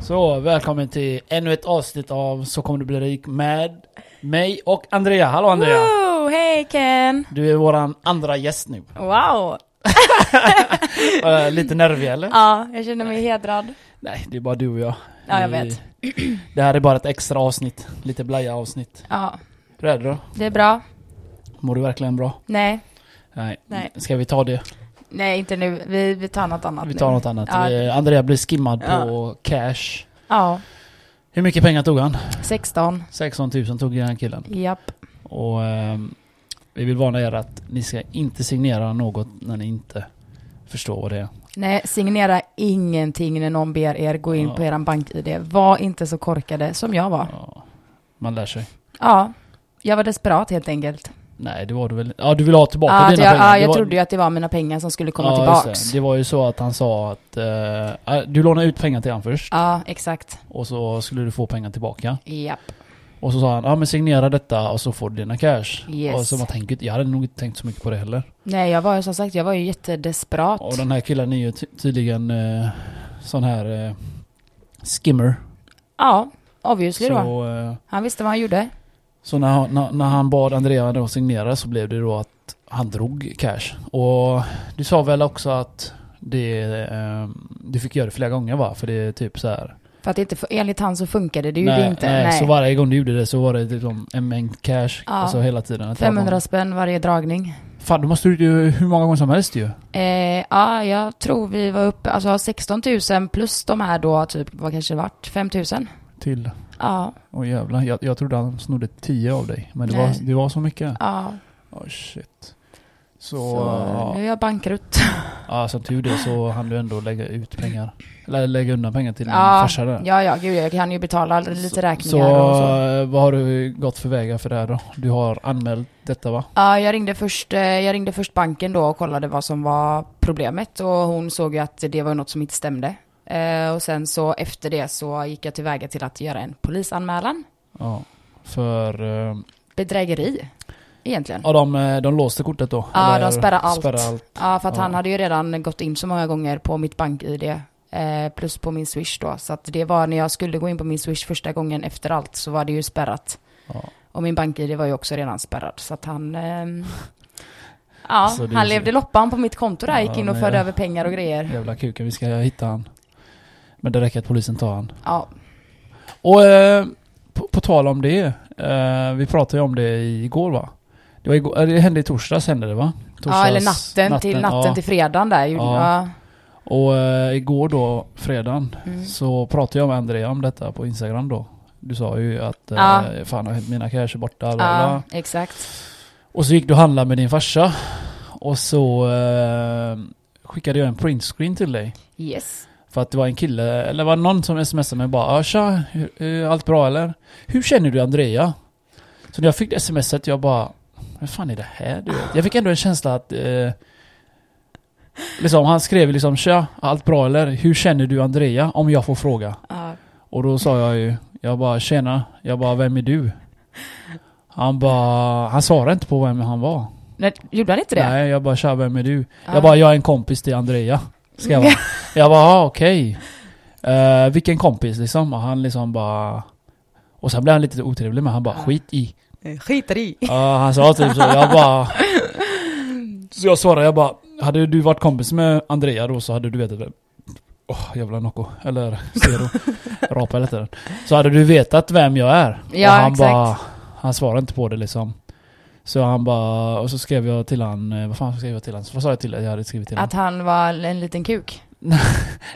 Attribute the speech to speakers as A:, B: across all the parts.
A: Så, välkommen till ännu ett avsnitt av Så kommer du bli rik med mig och Andrea. Hallå Andrea!
B: Wow, hej Ken!
A: Du är våran andra gäst nu.
B: Wow!
A: Eh, lite nervig eller?
B: Ja, jag känner mig hedrad.
A: Nej, det är bara du och jag.
B: Ja, jag
A: Vi-
B: vet.
A: Det här är bara ett extra avsnitt. Lite blaja avsnitt.
B: Ja,
A: Hur är det då?
B: det är bra.
A: Mår du verkligen bra?
B: Nej,
A: Nej.
B: Nej.
A: Ska vi ta det?
B: nej inte nu. Vi, vi tar något annat
A: Vi tar
B: nu.
A: något annat.
B: Ja.
A: Vi- Andrea blir skimmad
B: Ja.
A: på cash.
B: Ja,
A: Hur mycket pengar tog han?
B: 16.
A: 16 000 tog den här killen.
B: Japp.
A: Och ehm, vi vill varna er att ni ska inte signera något när ni inte förstår vad det är.
B: Nej, signera ingenting när någon ber er gå in
A: Ja.
B: på eran bank-id. Var inte så korkade som jag var.
A: Ja, man lär sig.
B: Ja, jag var desperat helt enkelt.
A: Nej, det var du väl Ja, du vill ha tillbaka
B: Ja, att
A: dina
B: jag,
A: pengar.
B: ja,
A: Det
B: jag
A: var-
B: trodde ju att det var mina pengar som skulle komma
A: Ja, just
B: tillbaks.
A: Det. det var ju så att han sa att eh, eh, du lånar ut pengar till honom först
B: Ja, exakt.
A: och så skulle du få pengar tillbaka.
B: Japp.
A: Och så sa han, ja men signera detta och så får du dina cash.
B: Yes.
A: Och så man tänker, jag hade nog inte tänkt så mycket på det heller.
B: Nej, jag var ju som sagt, jag var ju jättedesperat.
A: Och den här killen är ju ty- tydligen eh, sån här eh, skimmer.
B: Ja, obviously då.
A: Så, eh,
B: Han visste vad han gjorde.
A: så när, när, när han bad Andrea då signera så blev det då att han drog cash. Och du sa väl också att det, eh, du fick göra det flera gånger va? För det är typ så här.
B: För att det inte, enligt han så funkade det ju det inte.
A: nej.
B: Nej.
A: Så varje gång du gjorde det så var det liksom en mängd cash.
B: Ja.
A: Alltså hela tiden. Ett par
B: 500
A: gånger.
B: spänn varje dragning.
A: Fan, då måste du ju hur många gånger som helst ju.
B: Eh, ja, jag tror vi var uppe, alltså 16 000 plus de här då, typ, vad kanske det vart? 5 000?
A: Till.
B: Ja,
A: Åh jävlar, jag, jag trodde han snodde 10 av dig. Men det,
B: Nej.
A: var, det var så mycket.
B: ja.
A: Åh shit. Så,
B: Så,
A: ja.
B: nu är jag bankrutt.
A: ja, som tur det så hann du ändå lägga ut pengar. Eller lägga undan pengar till din
B: Ja,
A: farsa där.
B: Ja, ja, gud, jag kan ju betala lite
A: Så,
B: räkningar och så.
A: eh, vad har du gått för vägar för det här då? Du har anmält detta va?
B: Ja, jag ringde, först, eh, jag ringde först banken då och kollade vad som var problemet och hon såg ju att det var något som inte stämde. Eh, och sen så efter det så gick jag tillväga till att göra en polisanmälan.
A: Ja. För, eh,
B: bedrägeri egentligen.
A: ja de, eh, de låste kortet då?
B: Ja,
A: Eller
B: de spärrar allt.
A: spärrar allt.
B: Ja, för att han
A: Ja.
B: hade ju redan gått in så många gånger på mitt bank-id eh, plus på min swish då. Så att det var när jag skulle gå in på min swish första gången efter allt så var det ju spärrat.
A: Ja.
B: Och min bank-id var ju också redan spärrad. Så att han... ehm, ja,
A: Så det-
B: han levde loppan på mitt konto där.
A: Ja,
B: gick in och
A: men
B: förde
A: jag-
B: över pengar och grejer.
A: Jävla kuken, vi ska hitta han. Men det räcker att polisen tar han.
B: Ja,
A: Och eh, på, på tal om det. Eh, vi pratade ju om det igår va? Det, var igår, eh, det hände i torsdags hände det va? Torsdags,
B: ja eller natten, till, natten
A: ja.
B: till fredagen där. gjorde-
A: Ja.
B: Ja.
A: Och eh, igår då, fredagen,
B: Mm.
A: så pratade jag med Andrea om detta på Instagram då. Du sa ju att eh,
B: Ja.
A: fan har hänt mina cash är borta. bla, bla,
B: ja,
A: bla.
B: exakt.
A: Och så gick du och handlade med din farsa. Och så eh, skickade jag en printscreen till dig.
B: Yes.
A: För att det var en kille, eller var det någon som smsade mig bara "Ah, Tja, hur- hur- allt bra eller? Hur känner du Andrea? Så när jag fick det smset, jag bara Vad fan är det här du vet? Jag fick ändå en känsla att eh, Liksom, han skrev liksom Tja, allt bra eller? Hur känner du Andrea? Om jag får fråga.
B: Ja.
A: Och då sa jag ju Jag bara tjena, jag bara vem är du? Han bara, han svarade inte på vem han var.
B: Nej, gjorde han inte det?
A: Nej, jag bara tja, vem är du?
B: Ja.
A: Jag bara, jag är en kompis till Andrea. Ska jag vara. jag bara, ah, okej. Eh, vilken kompis liksom? Och han liksom bara... Och sen blev han lite otrevlig men han bara,
B: Ja.
A: skit i.
B: Skiter i.
A: Ja, han sa typ så. Jag bara... Så jag svarade, jag bara, hade du varit kompis med Andrea då så hade du vetat vem... Åh, jävla Nocco. Eller Zero. Rapa eller den. Så hade du vetat vem jag är.
B: Ja,
A: och han
B: exakt.
A: bara... Han svarade inte på det liksom. Så han bara... Och så skrev jag till han... eh, Vad fan skrev jag till han? Vad sa jag till Jag hade skrivit till han.
B: Att han var en liten kuk.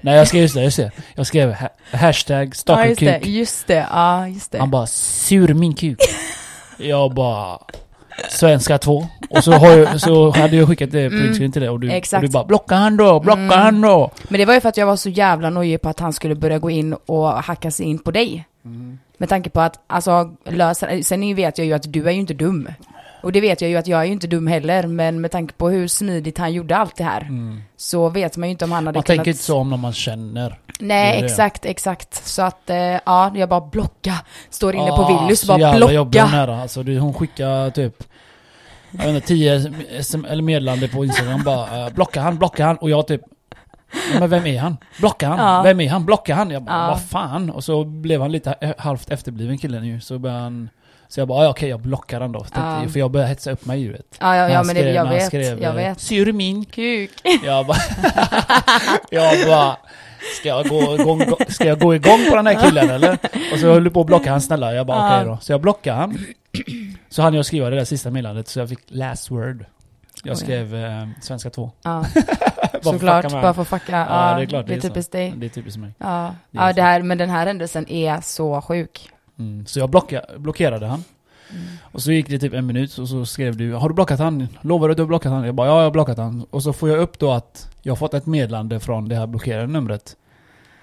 A: Nej jag skrev just det, just det. Jag skrev ha- hashtag
B: Ja, just det.
A: stalkerkuk.
B: Just det. Ja, just det.
A: Han bara sur min kuk. Jag bara svenska två. Och så, har jag, så hade jag skickat det printscreen till dig och du, och
B: exakt.
A: du bara blocka han då, blocka
B: Mm.
A: han då.
B: Men det var ju för att jag var så jävla nojig på att han skulle börja gå in och hacka sig in på dig.
A: Mm.
B: Med tanke på att, alltså, lösa, sen vet jag ju att du är ju inte dum. Och det vet jag ju att jag är ju inte dum heller, men med tanke på hur smidigt han gjorde allt det här så vet man ju inte om han hade
A: Mm. Man
B: kunnat...
A: tänker inte så om när man känner.
B: Nej,
A: Det är det.
B: exakt, exakt. Så att, eh, ja, jag bara blocka. Står inne på
A: Ah,
B: Willys
A: så
B: och bara
A: jävla jobbig hon
B: blocka.
A: är, Alltså, du, hon skickar typ jag vet inte, 10 SM, eller meddelande på Instagram bara eh, blocka han, blocka han och jag typ Ja, Men vem är han? Blockar han?
B: Ja.
A: Vem är han? Blockar han? Jag bara,
B: Ja.
A: vad fan? Och så blev han lite eh, halvt efterbliven killen ju. Så började han... Så jag bara, ja, okej jag blockar han då. tänkte
B: Ja.
A: jag, För jag började hetsa upp mig ju. vet.
B: Ja, ja,
A: När
B: ja
A: han
B: men det,
A: skrev-
B: jag
A: när han
B: vet.
A: skrev,
B: jag
A: eh,
B: vet.
A: Syr min
B: Kuk.
A: Jag bara... jag bara... Ska jag, gå igång, ska jag gå igång på den här killen eller? Och så höll du på att blocka han snälla. Jag bara
B: Ja.
A: okej då. Så jag blockade han. Så hann jag skriva det där sista meddelandet så jag fick last word. Jag
B: Oj.
A: skrev eh, svenska 2.
B: Ja, såklart. Bara för att fucka.
A: Ja,
B: Ja,
A: det är klart,
B: Det är
A: det är så.
B: typiskt dig.
A: Det är typiskt mig.
B: Ja,
A: Det är
B: ja
A: så.
B: det här, men den här händelsen är så sjuk.
A: Mm. Så jag blocka, blockerade han. Och så gick det typ en minut och så skrev du Har du blockat han? Lovar du att du har blockat han? Jag bara ja, jag har blockat han. Och så får jag upp då att jag har fått ett meddelande från det här blockerade numret.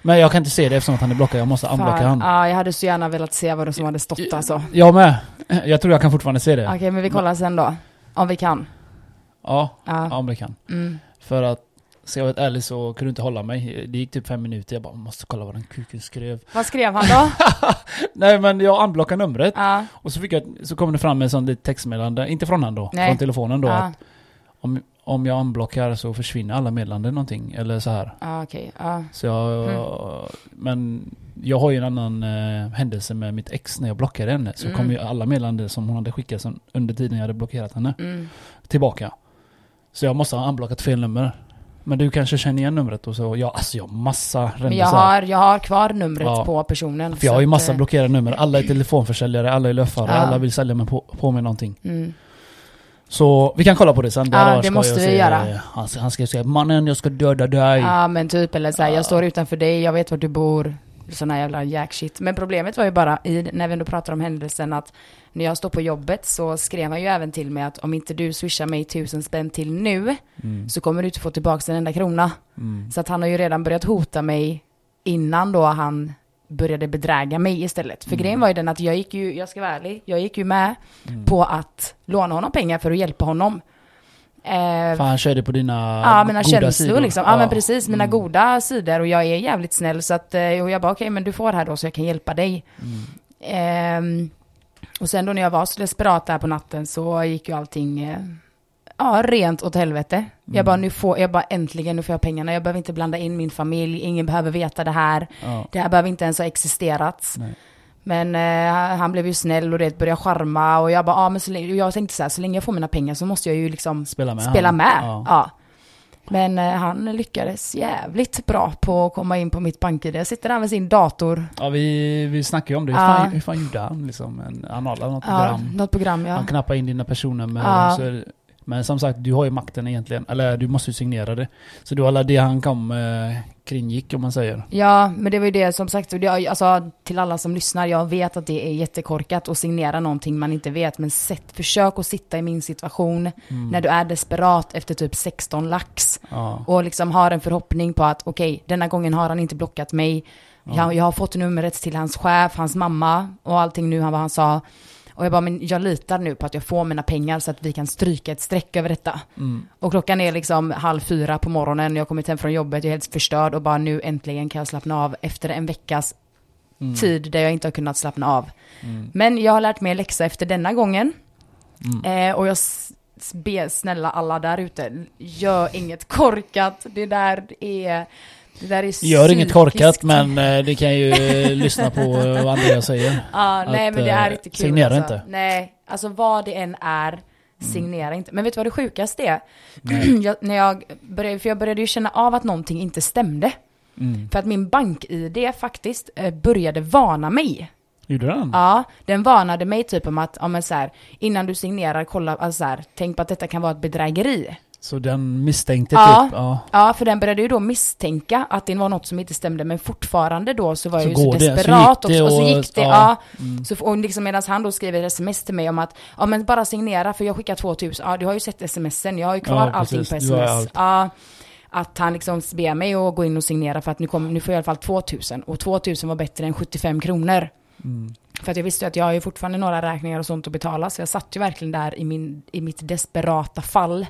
A: Men jag kan inte se det eftersom att han är blockad. Jag måste unblocka han.
B: Ja, jag hade så gärna velat se vad det som hade stått alltså.
A: Jag med. Jag tror jag kan fortfarande se det.
B: Okej, men vi kollar sen då. Om vi kan.
A: Ja, ja
B: Ja.
A: om det kan.
B: Mm.
A: För att Ska jag vara ärlig så kunde jag inte hålla mig. Det gick typ fem minuter. Jag bara måste kolla vad den kuken skrev.
B: Vad skrev han då?
A: Nej men jag unblockade numret.
B: Ja,
A: Och så, fick jag, så kom det fram en sån litet textmeddelande. Inte från han då.
B: Nej.
A: Från telefonen då. Att
B: ja,
A: om, om jag unblockar så försvinner alla meddelanden någonting. Eller så här.
B: ja okej. Ja.
A: Så jag,
B: Mm.
A: Men jag har ju en annan eh, händelse med mitt ex när jag blockade henne. Så
B: Mm.
A: kom ju alla meddelanden som hon hade skickat som, under tiden jag hade blockerat henne
B: Mm.
A: tillbaka. Så jag måste ha unblockat fel nummer. Men du kanske känner igen numret och så. Jag, alltså jag har massa
B: Men jag
A: rändisar.
B: har, jag har kvar numret
A: Ja.
B: på personen.
A: För jag har ju
B: så att,
A: massa
B: eh,
A: blockerade nummer. Alla är telefonförsäljare, alla är löffare,
B: Ja.
A: alla vill sälja mig på, på mig någonting.
B: Mm.
A: Så vi kan kolla på det sen.
B: Ja,
A: hade
B: det
A: varit skoj
B: måste
A: att
B: vi
A: se- eh,
B: göra.
A: Han, han skrev säga mannen jag ska döda dig.
B: Ja men typ eller såhär,
A: Ja.
B: jag står utanför dig, jag vet var du bor. Sån här jävla jack shit. Men problemet var ju bara, i, när vi ändå pratar om händelsen, att när jag står på jobbet så skrev han ju även till mig att om inte du swishar mig tusen spänn till nu
A: Mm.
B: så kommer du inte få tillbaka en enda krona.
A: Mm.
B: Så att han har ju redan börjat hota mig innan då han började bedräga mig istället. För grejen var ju den att jag gick ju, jag ska vara ärlig, jag gick ju med på att låna honom pengar för att hjälpa honom. Eh,
A: Fan han körde på dina
B: Ja, mina
A: goda
B: känslor
A: sidor. Mm.
B: liksom. Ja, men precis. Mina goda sidor och jag är jävligt snäll. Så att, eh, och jag bara, okej, men du får här då så jag kan hjälpa dig.
A: Mm.
B: Ehm, och sen då när jag var så desperat där på natten så gick ju allting eh, ja, rent åt helvete. Jag
A: Mm.
B: bara, nu får, jag bara äntligen, nu får jag pengarna. Jag behöver inte blanda in min familj, ingen behöver veta det här.
A: Ja.
B: Det här behöver inte ens ha existerat.
A: Nej.
B: Men eh, han blev ju snäll och det började charma och jag bara, ja men så länge, jag tänkte så här, så länge jag får mina pengar så måste jag ju liksom
A: Spela med
B: spela
A: han.
B: med.
A: Ja.
B: Ja. Men eh, han lyckades jävligt bra på att komma in på mitt bank-id. Jag sitter där med sin dator.
A: Ja, vi, vi snackade ju om det. Hur
B: Ja.
A: fan, hur fan gjorde han liksom? En, han har något
B: Ja,
A: program.
B: något program ja.
A: Han knappar in dina personnummer.
B: Ja.
A: Så är det- men som sagt, du har ju makten egentligen. Eller du måste ju signera det. Så du alla det han kom eh, kringgick om man säger.
B: Ja, men det var ju det som sagt, och det, alltså, till alla som lyssnar, jag vet att det är jättekorkat att signera någonting man inte vet, men sätt, försök att sitta i min situation
A: Mm.
B: när du är desperat efter typ 16 lax.
A: Ja.
B: Och liksom har en förhoppning på att okej, denna gången har han inte blockat mig. Jag, jag har fått numret till hans chef, hans mamma och allting nu, han, vad han sa. Och jag bara, men jag litar nu på att jag får mina pengar så att vi kan stryka ett streck över detta.
A: Mm.
B: Och klockan är liksom halv fyra på morgonen, jag har kommit hem från jobbet, jag är helt förstörd och bara nu äntligen kan jag slappna av efter en veckas
A: Mm.
B: tid där jag inte har kunnat slappna av. Men jag har lärt mig en läxa efter denna gången.
A: Mm.
B: Eh, och jag s- s- ber snälla alla där ute, gör inget korkat. Det där är... Det där är
A: Gör inget korkat
B: psykiskt.
A: men eh, det kan ju eh, lyssna på eh, vad Andreas säger.
B: Ja, nej
A: att,
B: men det
A: eh,
B: är inte kul.
A: signera
B: alltså.
A: inte. Mm.
B: Nej, alltså vad det än är, signera inte. Men vet du vad det sjukaste är? jag, när jag började, för jag började ju känna av att någonting inte stämde.
A: Mm.
B: För att min bank-id faktiskt eh, började varna mig.
A: Gjorde han?
B: Ja, den varnade mig typ om att, ja men så här, innan du signerar, kolla, alltså så här, tänk på att detta kan vara ett bedrägeri.
A: Så den misstänkte
B: Ja.
A: typ? Ja.
B: Ja, för den började ju då misstänka att det var något som inte stämde, men fortfarande då så var jag
A: Så
B: ju så
A: går det, så
B: desperat
A: gick det
B: också. Och,
A: och-
B: så gick det,
A: ja. Mm.
B: ja. Så, och liksom medan han då skriver ett sms till mig om att, ja men bara signera för jag skickar 2000, ja du har ju sett smsen, jag har ju kvar
A: Ja, precis.
B: allting på
A: Du har
B: sms.
A: allt.
B: Ja, att han liksom ber mig att gå in och signera för att nu, kom, nu får jag i alla fall 2000, och 2000 var bättre än 75 kronor.
A: Mm.
B: För att jag visste ju att jag har ju fortfarande några räkningar och sånt att betala, så jag satt ju verkligen där i, min, i mitt desperata fall.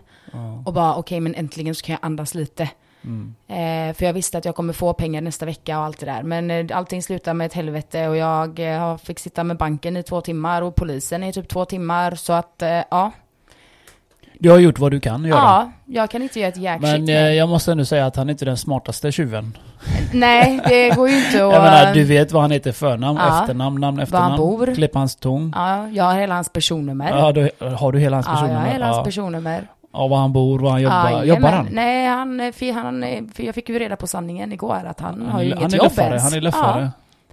B: Och bara okej, men äntligen så kan jag andas lite.
A: Mm.
B: Eh, för jag visste att jag kommer få pengar nästa vecka och allt det där. Men eh, allting slutar med ett helvete och jag eh, har- fick sitta med banken i två timmar och polisen i typ två timmar. Så att eh, ja,
A: Du har gjort vad du kan göra.
B: Ja, jag kan inte göra ett jack
A: Men
B: shit.
A: eh,
B: nej.
A: jag måste ändå säga att han är inte den smartaste tjuven.
B: Nej, det går ju inte att...
A: jag menar, du vet vad han heter förnamn,
B: eh, ja.
A: efternamn, namn,
B: Var
A: efternamn.
B: han bor.
A: Klipp hans ton.
B: Ja, jag har hela hans personnummer.
A: Ja, då, har du hela hans
B: Ja, jag har
A: personnummer?
B: hela hans
A: Ja.
B: personnummer.
A: Ja, var han bor, var han jobbar.
B: Ja,
A: jobbar
B: jajamän.
A: han?
B: Nej, han, eh, fi- han, eh, för jag fick ju reda på sanningen igår att han, har
A: är-
B: ju inget
A: han är
B: jobb
A: löffare,
B: ens.
A: han är löffare.
B: Ja,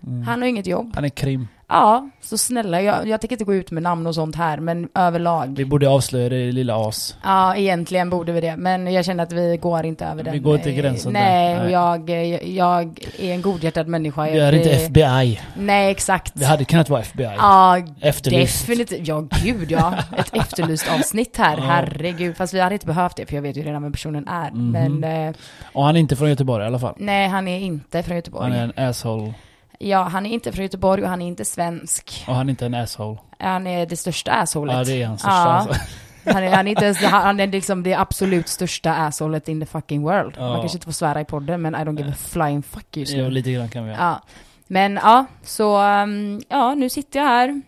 A: Mm.
B: han har inget jobb.
A: Han är krim.
B: Ja, så snälla, jag, jag tänker inte gå ut med namn och sånt här, men överlag.
A: Vi borde avslöja det i lilla as.
B: Ja, egentligen borde vi det, men jag känner att vi går inte över
A: Vi
B: den.
A: går inte
B: eh,
A: gränsen där.
B: Nej, och
A: Nej.
B: jag, eh, jag är en godhjärtad människa.
A: Vi är inte FBI.
B: Nej, exakt.
A: Vi hade kunnat vara FBI.
B: Ja,
A: Efterlyst.
B: definitivt. Ja, gud ja. Ett efterlyst avsnitt här,
A: Ja.
B: herregud. Fast vi hade inte behövt det, för jag vet ju redan vem personen är.
A: Mhm.
B: Men eh,
A: Och han är inte från Göteborg i alla fall.
B: nej, han är inte från Göteborg.
A: Han är en asshole.
B: Ja, han är inte från Göteborg och han är inte svensk.
A: Och han är inte en asshole.
B: Han är det största assholet.
A: Ja, det är han största.
B: Ja.
A: Alltså.
B: Han är, han är inte ens, han är liksom det absolut största assholet in the fucking world.
A: Ja.
B: Man kanske inte får svära i podden, men I don't give a flying fuck just
A: Jo,
B: nu.
A: lite grann kan vi göra.
B: Ja. Men ja, så um, ja, nu sitter jag här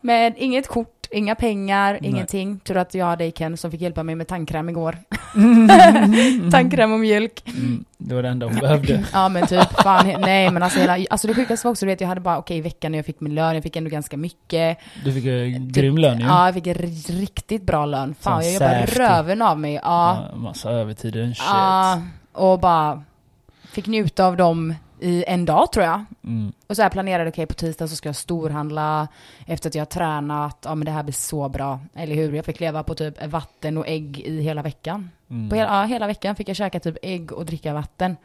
B: med inget kort, inga pengar,
A: Nej.
B: ingenting. Tur att jag har dig Ken som fick hjälpa mig med tandkräm igår. tandkräm och mjölk.
A: Mm, det var det enda hon behövde.
B: Ja men typ, fan, he- nej men alltså, hela, alltså det sjukaste var också, du vet jag hade bara okej i veckan när jag fick min lön, jag fick ändå ganska mycket.
A: Du fick ju grym lön ju.
B: Typ- Ja, jag fick r- riktigt bra lön. Fan,
A: Sån
B: jag jobbade
A: safety.
B: röven av mig. Ja.
A: Ja, Massa övertid och shit.
B: ja. Ah, Och bara fick njuta av dem i en dag tror jag.
A: Mm.
B: Och så här planerade, okej på tisdag så ska jag storhandla efter att jag har tränat. Ja men det här blir så bra, eller hur? Jag fick leva på typ vatten och ägg i hela veckan.
A: Mm.
B: På hela, ja, hela veckan fick jag käka typ ägg och dricka vatten.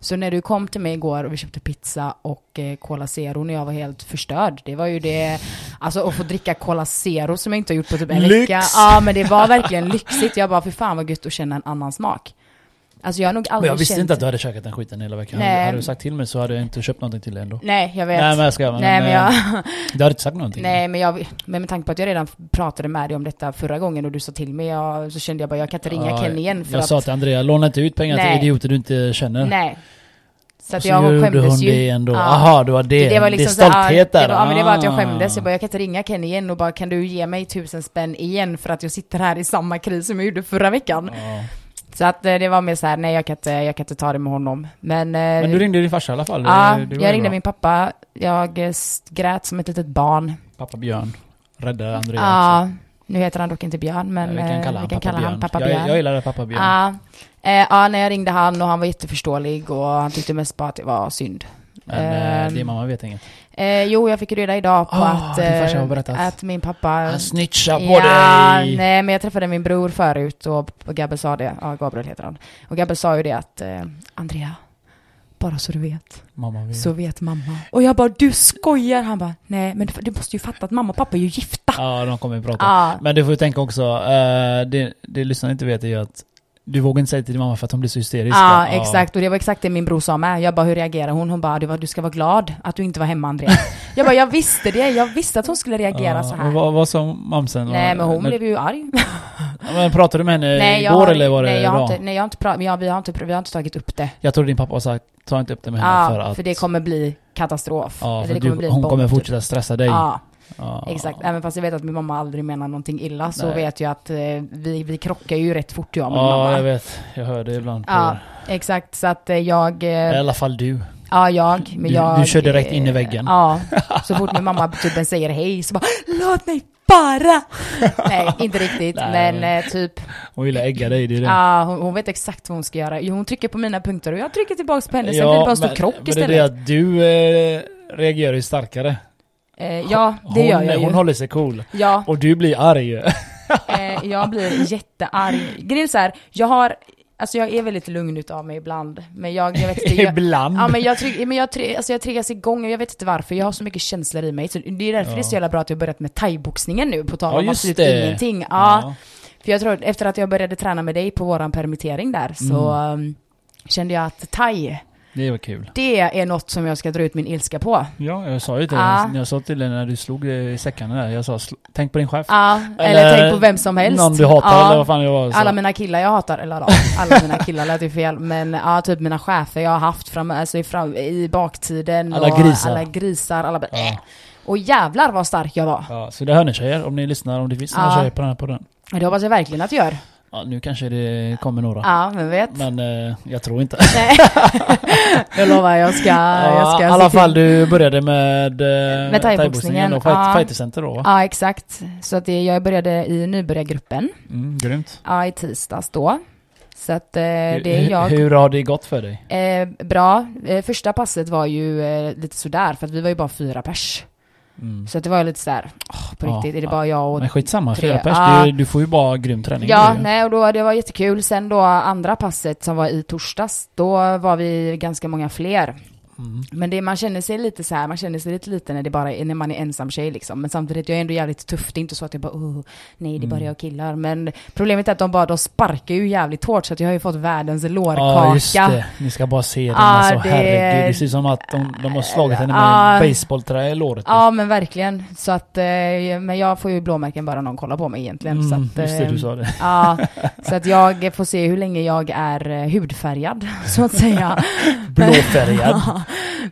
B: Så när du kom till mig igår och vi köpte pizza och eh, Cola Zero när jag var helt förstörd. Det var ju det, alltså att få dricka Cola Zero som jag inte har gjort på typ en
A: Lyx!
B: vecka. Ja men det var verkligen lyxigt. Jag bara, för fan vad gött att känna en annan smak. Alltså jag har nog
A: Men
B: aldrig
A: jag visste
B: känt...
A: inte att du hade käkat den skiten hela veckan.
B: Nej.
A: Hade du sagt till mig så hade jag inte köpt någonting till dig ändå.
B: Nej, jag vet.
A: Nej men jag skojar. Men,
B: Nej men
A: eh,
B: jag...
A: Du hade inte sagt någonting.
B: Nej, men, jag, men med tanke på att jag redan pratade med dig om detta förra gången och du sa till mig, jag, så kände jag bara jag kan inte ringa
A: Ja,
B: Ken igen för
A: jag
B: att...
A: sa till Andrea, låna inte ut pengar
B: Nej.
A: till idioter du inte känner.
B: nej. Så
A: Och
B: att
A: så
B: jag
A: gjorde hon
B: skämdes ju.
A: det ändå.
B: Ja.
A: Aha, det var det. Det,
B: var
A: är
B: liksom så här,
A: stolthet
B: ja,
A: där.
B: Det var, ja, men det var att jag
A: Ah.
B: skämdes. Jag bara, jag kan inte ringa Ken igen och bara, kan du ge mig tusen spänn igen för att jag sitter här i samma kris som jag gjorde förra veckan.
A: Ja.
B: Så att eh, det var mer så här, nej jag kan inte, jag kan inte ta det med honom. Men, eh,
A: Men du ringde din farsa i alla fall.
B: Ja,
A: Det- det var ju
B: jag ringde
A: bra.
B: min pappa. Jag eh, s- grät som ett litet barn.
A: Pappa Björn. Rädda Andrea också.
B: Ja, nu heter han dock inte Björn, men
A: alltså. vi kan kalla
B: eh,
A: honom
B: vi
A: pappa,
B: kan kalla
A: Björn.
B: han pappa
A: Jag,
B: Björn.
A: jag gillar pappa Björn.
B: Ja, eh, ja, när jag ringde han och han var jätteförståelig och han tyckte mest bara att det var synd.
A: Men eh,
B: ehm,
A: din mamma vet inget.
B: Eh, jo, jag fick reda idag på
A: Ah,
B: att,
A: din farsa
B: eh,
A: har berättat. Alltså,
B: att min pappa...
A: Han snitchar på
B: ja,
A: dig!
B: nej men jag träffade min bror förut och Gabriel sa det, ja Gabriel heter han. Och Gabriel sa ju det att, eh, Andrea, bara så du vet,
A: Mamma vet.
B: så vet mamma. Och jag bara, du skojar! Han bara, nej men du måste ju fatta att mamma och pappa är ju gifta.
A: Ja, de kommer ju prata.
B: Ja,
A: Men du får ju tänka också, eh, det, det lyssnarna inte vet är ju att du vågar inte säga till din mamma för att hon blir så hysterisk.
B: Ja, exakt. Och det var exakt det min bror sa med. Jag bara, hur reagerar hon? Hon bara, du, var- du ska vara glad att du inte var hemma Andrea. jag bara, jag visste det. Jag visste att hon skulle reagera
A: Ja,
B: så
A: men
B: här.
A: Vad, vad sa mamsen?
B: Nej men hon
A: När-
B: blev ju arg.
A: Men pratade du med henne
B: Nej,
A: Eh,
B: jag
A: igår
B: har,
A: eller var det
B: nej, jag har
A: idag?
B: inte, nej jag har inte pratat, ja, vi, har inte, vi har inte tagit upp det.
A: Jag tror din pappa har sagt, ta inte upp det med henne
B: Ja,
A: för att...
B: det kommer bli katastrof.
A: ja,
B: Eller
A: för
B: det kommer
A: du,
B: bli en
A: hon
B: bomb,
A: kommer
B: typ.
A: fortsätta stressa dig.
B: Ja,
A: Ja.
B: exakt. Även fast jag vet att min mamma aldrig menar någonting illa så
A: Nej.
B: vet jag att eh, vi, vi krockar ju rätt fort jag och min
A: Ja, jag
B: mamma.
A: vet. Jag hör det ibland på
B: Ja, exakt. Så att eh, jag... eh,
A: I alla fall du.
B: Ja, jag. Men
A: Du-
B: jag eh,
A: du kör direkt in i väggen.
B: Ja. Så fort min mamma typ säger hej så bara Låt mig bara! Nej, inte riktigt.
A: Nej,
B: men
A: men-
B: eh, typ,
A: Hon vill ägga dig, det är det.
B: ja, hon, hon vet exakt vad hon ska göra. Jo, hon trycker på mina punkter och jag trycker tillbaka på henne. Sen blir det bara en stor
A: men-
B: krock
A: men
B: istället.
A: det är det att du eh, reagerar ju starkare.
B: eh, ja, det
A: hon,
B: gör jag ju.
A: Hon håller sig cool.
B: Ja,
A: Och du blir arg.
B: eh, jag blir jättearg. Grejen är så här, jag har, alltså jag är väldigt lugn utav mig ibland. Men jag, jag vet inte. Jag,
A: ibland.
B: Ja men jag, trygg, men jag, trygg, alltså jag triggas igång och jag vet inte varför, jag har så mycket känslor i mig. Så det är därför
A: Ja.
B: det är så jävla bra att jag börjat med thaiboxningen nu, på tal
A: Ja,
B: om
A: just
B: absolut
A: det.
B: ingenting. Ja, För jag tror, efter att jag började träna med dig på våran permittering där, så
A: Mm.
B: um, kände jag att thai,
A: Det var kul.
B: det är något som jag ska dra ut min ilska på.
A: Ja, jag sa ju till
B: Ja.
A: dig, jag sa till dig när du slog i säckarna där, jag sa "Sl- tänk på din chef.
B: Ja, eller,
A: Eller
B: tänk på vem som helst.
A: Någon du hatar
B: Ja.
A: eller vad fan jag var. så.
B: Alla mina killar jag hatar, eller ja, alla mina killar lät ju fel, men ja, typ mina chefer jag har haft fram, alltså i, fram, i baktiden
A: Alla
B: och
A: grisar.
B: alla grisar, alla bara,
A: Ja.
B: och jävlar vad stark jag var.
A: Ja, så det hör ni tjejer, om ni lyssnar, om det finns några
B: Ja.
A: tjejer på den här podden.
B: Ja, Det hoppas jag verkligen att du gör.
A: Ja, nu kanske det kommer några.
B: Ja, vem vet.
A: Men eh, jag tror inte.
B: Nej. jag lovar, jag ska... jag
A: Ja,
B: ska
A: I
B: se
A: alla
B: till-
A: fall du började med, eh,
B: Med thaiboxningen,
A: och fight,
B: ja.
A: fightercenter då va?
B: Ja, exakt. Så att det, jag började i nybörjargruppen.
A: Mm, grymt.
B: Ja, i tisdags då. Så att eh, det är
A: Hur-
B: jag.
A: Hur har det gått för dig?
B: Eh, bra. Eh, första passet var ju eh, lite sådär, för att vi var ju bara fyra pers.
A: Mm.
B: Så att det var ju lite sådär, åh, på
A: Ja,
B: riktigt, är det
A: ja.
B: bara jag och
A: Men skitsamma,
B: tre.
A: fyra pers.
B: Ja.
A: Du, du får ju bara grym träning.
B: Ja,
A: du.
B: nej, och då, det var jättekul. Sen då andra passet som var i torsdags, då var vi ganska många fler.
A: Mm.
B: Men det, man känner sig lite så här, man känner sig lite liten när, det bara är, när man är ensam tjej liksom. Men samtidigt, jag är ändå jävligt tuff. Det är inte så att jag bara, oh, nej det är bara
A: Mm.
B: jag och killar. Men problemet är att de bara, de sparkar ju jävligt hårt så att jag har ju fått världens lårkaka.
A: Ja just det, ni ska bara se den
B: Ja,
A: alltså,
B: det-
A: herregud. Det ser ut som att de, de har slagit henne med
B: Ja.
A: en basebollträ i låret.
B: Ja men verkligen. Så att, eh, men jag får ju blåmärken bara någon kollar på mig egentligen. så
A: Mm,
B: att,
A: just det,
B: eh,
A: du sa det.
B: Ja, så att jag får se hur länge jag är eh, hudfärgad, så att säga.
A: Blåfärgad.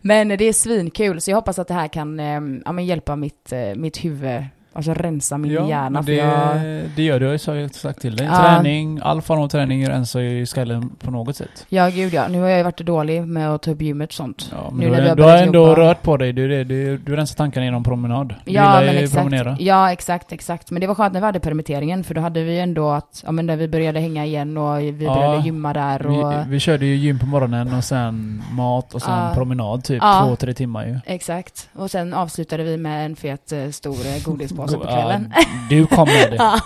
B: Men det är svinkul, så jag hoppas att det här kan eh, ja, men hjälpa mitt, eh, mitt huvud, alltså rensa min hjärna.
A: men
B: För
A: det,
B: jag,
A: det gör du, så har jag sagt till dig.
B: Ja.
A: Träning, all form av träning rensar ju skallen på något sätt.
B: ja, gud ja. Nu har jag ju varit dålig med att ta upp gymmet och sånt.
A: Ja, men
B: Nu
A: du,
B: när
A: har,
B: vi har
A: du har
B: börjat
A: ändå
B: jobba.
A: rört på dig, du, du, du, du rensar tankarna genom promenad. Du
B: Ja,
A: gillar
B: men
A: ju
B: exakt.
A: promenera.
B: Ja, exakt, exakt. Men det var skönt när vi hade permitteringen, för då hade vi ändå att, ja men när vi började hänga igen och vi
A: Ja,
B: började gymma där och...
A: Vi, vi körde ju gym på morgonen och sen mat och sen
B: Ja.
A: promenad typ
B: Ja.
A: två, tre timmar ju.
B: Exakt. Och sen avslutade vi med en fet eh, stor eh, godispåse på
A: Ja,
B: kvällen.
A: du kom med det.
B: Ja.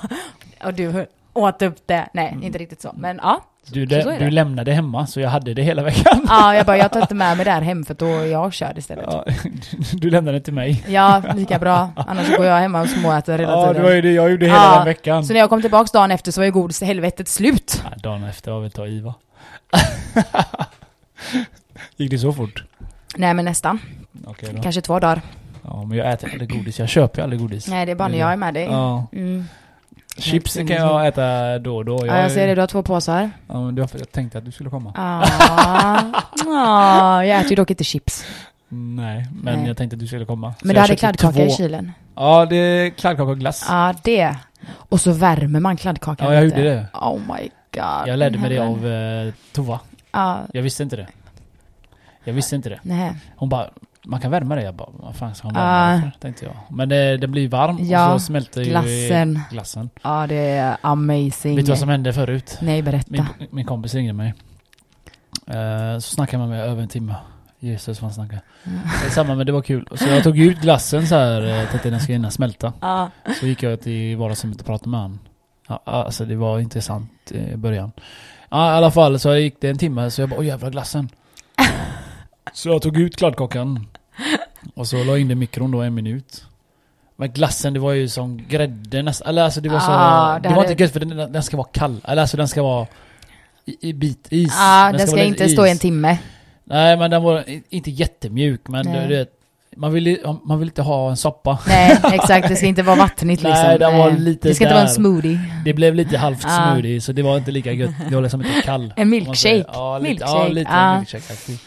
B: och du åt upp det. Nej,
A: Mm.
B: inte riktigt så. Men ja.
A: Du,
B: så
A: det,
B: är det.
A: du lämnade hemma så jag hade det hela veckan.
B: ja, jag bara jag tar inte med mig det här hem för då är jag körd istället.
A: Ja, du- du lämnade det till mig.
B: Ja, lika bra. Annars så går jag hemma och småäter hela
A: Ja, det
B: tiden.
A: var ju det jag gjorde hela
B: Ja,
A: den veckan.
B: Så när jag kom tillbaks dagen efter så var ju godis helvetet slut.
A: Ja, dagen efter var väl ta i va? Gick det så fort?
B: Nej men nästan.
A: Okej då.
B: Kanske två dagar.
A: Ja, men jag äter aldrig godis. Jag köper ju aldrig godis.
B: Nej det är bara när jag är med dig.
A: Ja.
B: Mm.
A: Chips
B: Nej,
A: kan jag äta då och då.
B: Ja, jag ser det, du har två påsar.
A: Ja, men det var för att jag tänkte att du skulle komma.
B: Ah. Ah, jag äter ju dock inte chips.
A: Nej, men
B: Nej.
A: jag tänkte att du skulle komma. Så
B: Men du
A: jag
B: hade
A: köpte
B: kladdkaka i
A: två.
B: kylen.
A: Ja, det är kladdkaka och glass.
B: Ja, det. Och så värmer man kladdkakan
A: Ja, jag
B: lite.
A: gjorde det.
B: Oh my god.
A: Jag lärde mig det
B: Heaven.
A: av eh, Tova.
B: Ja,
A: Jag visste inte det. Jag visste inte det.
B: nej.
A: Hon bara, man kan värma det. Jag bara, vad fan ska man
B: Ah.
A: värma det för? Tänkte jag. Men det, det blir varm
B: Ja,
A: och så smälter ju
B: Glassen.
A: glassen.
B: Ja, det är amazing.
A: Vet du vad som hände förut?
B: Nej, berätta.
A: Min, min kompis ringde mig. Eh, så snackade man med över en timme. Jesus vad han snackade. Det är samma men det var kul. Så jag tog ut glassen så här, eh, tänkte den ska hinna smälta.
B: Ja,
A: Så gick jag till vardagsrummet och pratade med han. Ja, alltså det var intressant eh, i början. Ja, I alla fall så gick det en timme så jag bara åh jävla glassen. Så jag tog ut kladdkakan. Och så la jag in det i mikron då en minut. Men glassen det var ju som grädde nästan. Eller alltså det var så.
B: Ah, det
A: det, var
B: hade-
A: inte gött för den, den ska vara kall. Eller alltså den ska vara i, i bit is.
B: ja Ah, den ska
A: vara
B: inte
A: lite
B: stå i
A: is.
B: en timme.
A: Nej men den var i- inte jättemjuk men
B: Nej.
A: du vet. Man vill, ju- man vill inte ha en soppa.
B: Nej, exakt. Det ska inte vara vattnigt
A: Nej,
B: liksom.
A: den var
B: Nej.
A: lite
B: det ska inte vara en
A: där.
B: smoothie.
A: Det blev lite halvt
B: Ah.
A: smoothie, så det var inte lika gött. Det var liksom inte kall.
B: En
A: om man säger.
B: milkshake.
A: Ja, lite,
B: Milkshake,
A: Ja, lite
B: ah.
A: milkshake-aktig.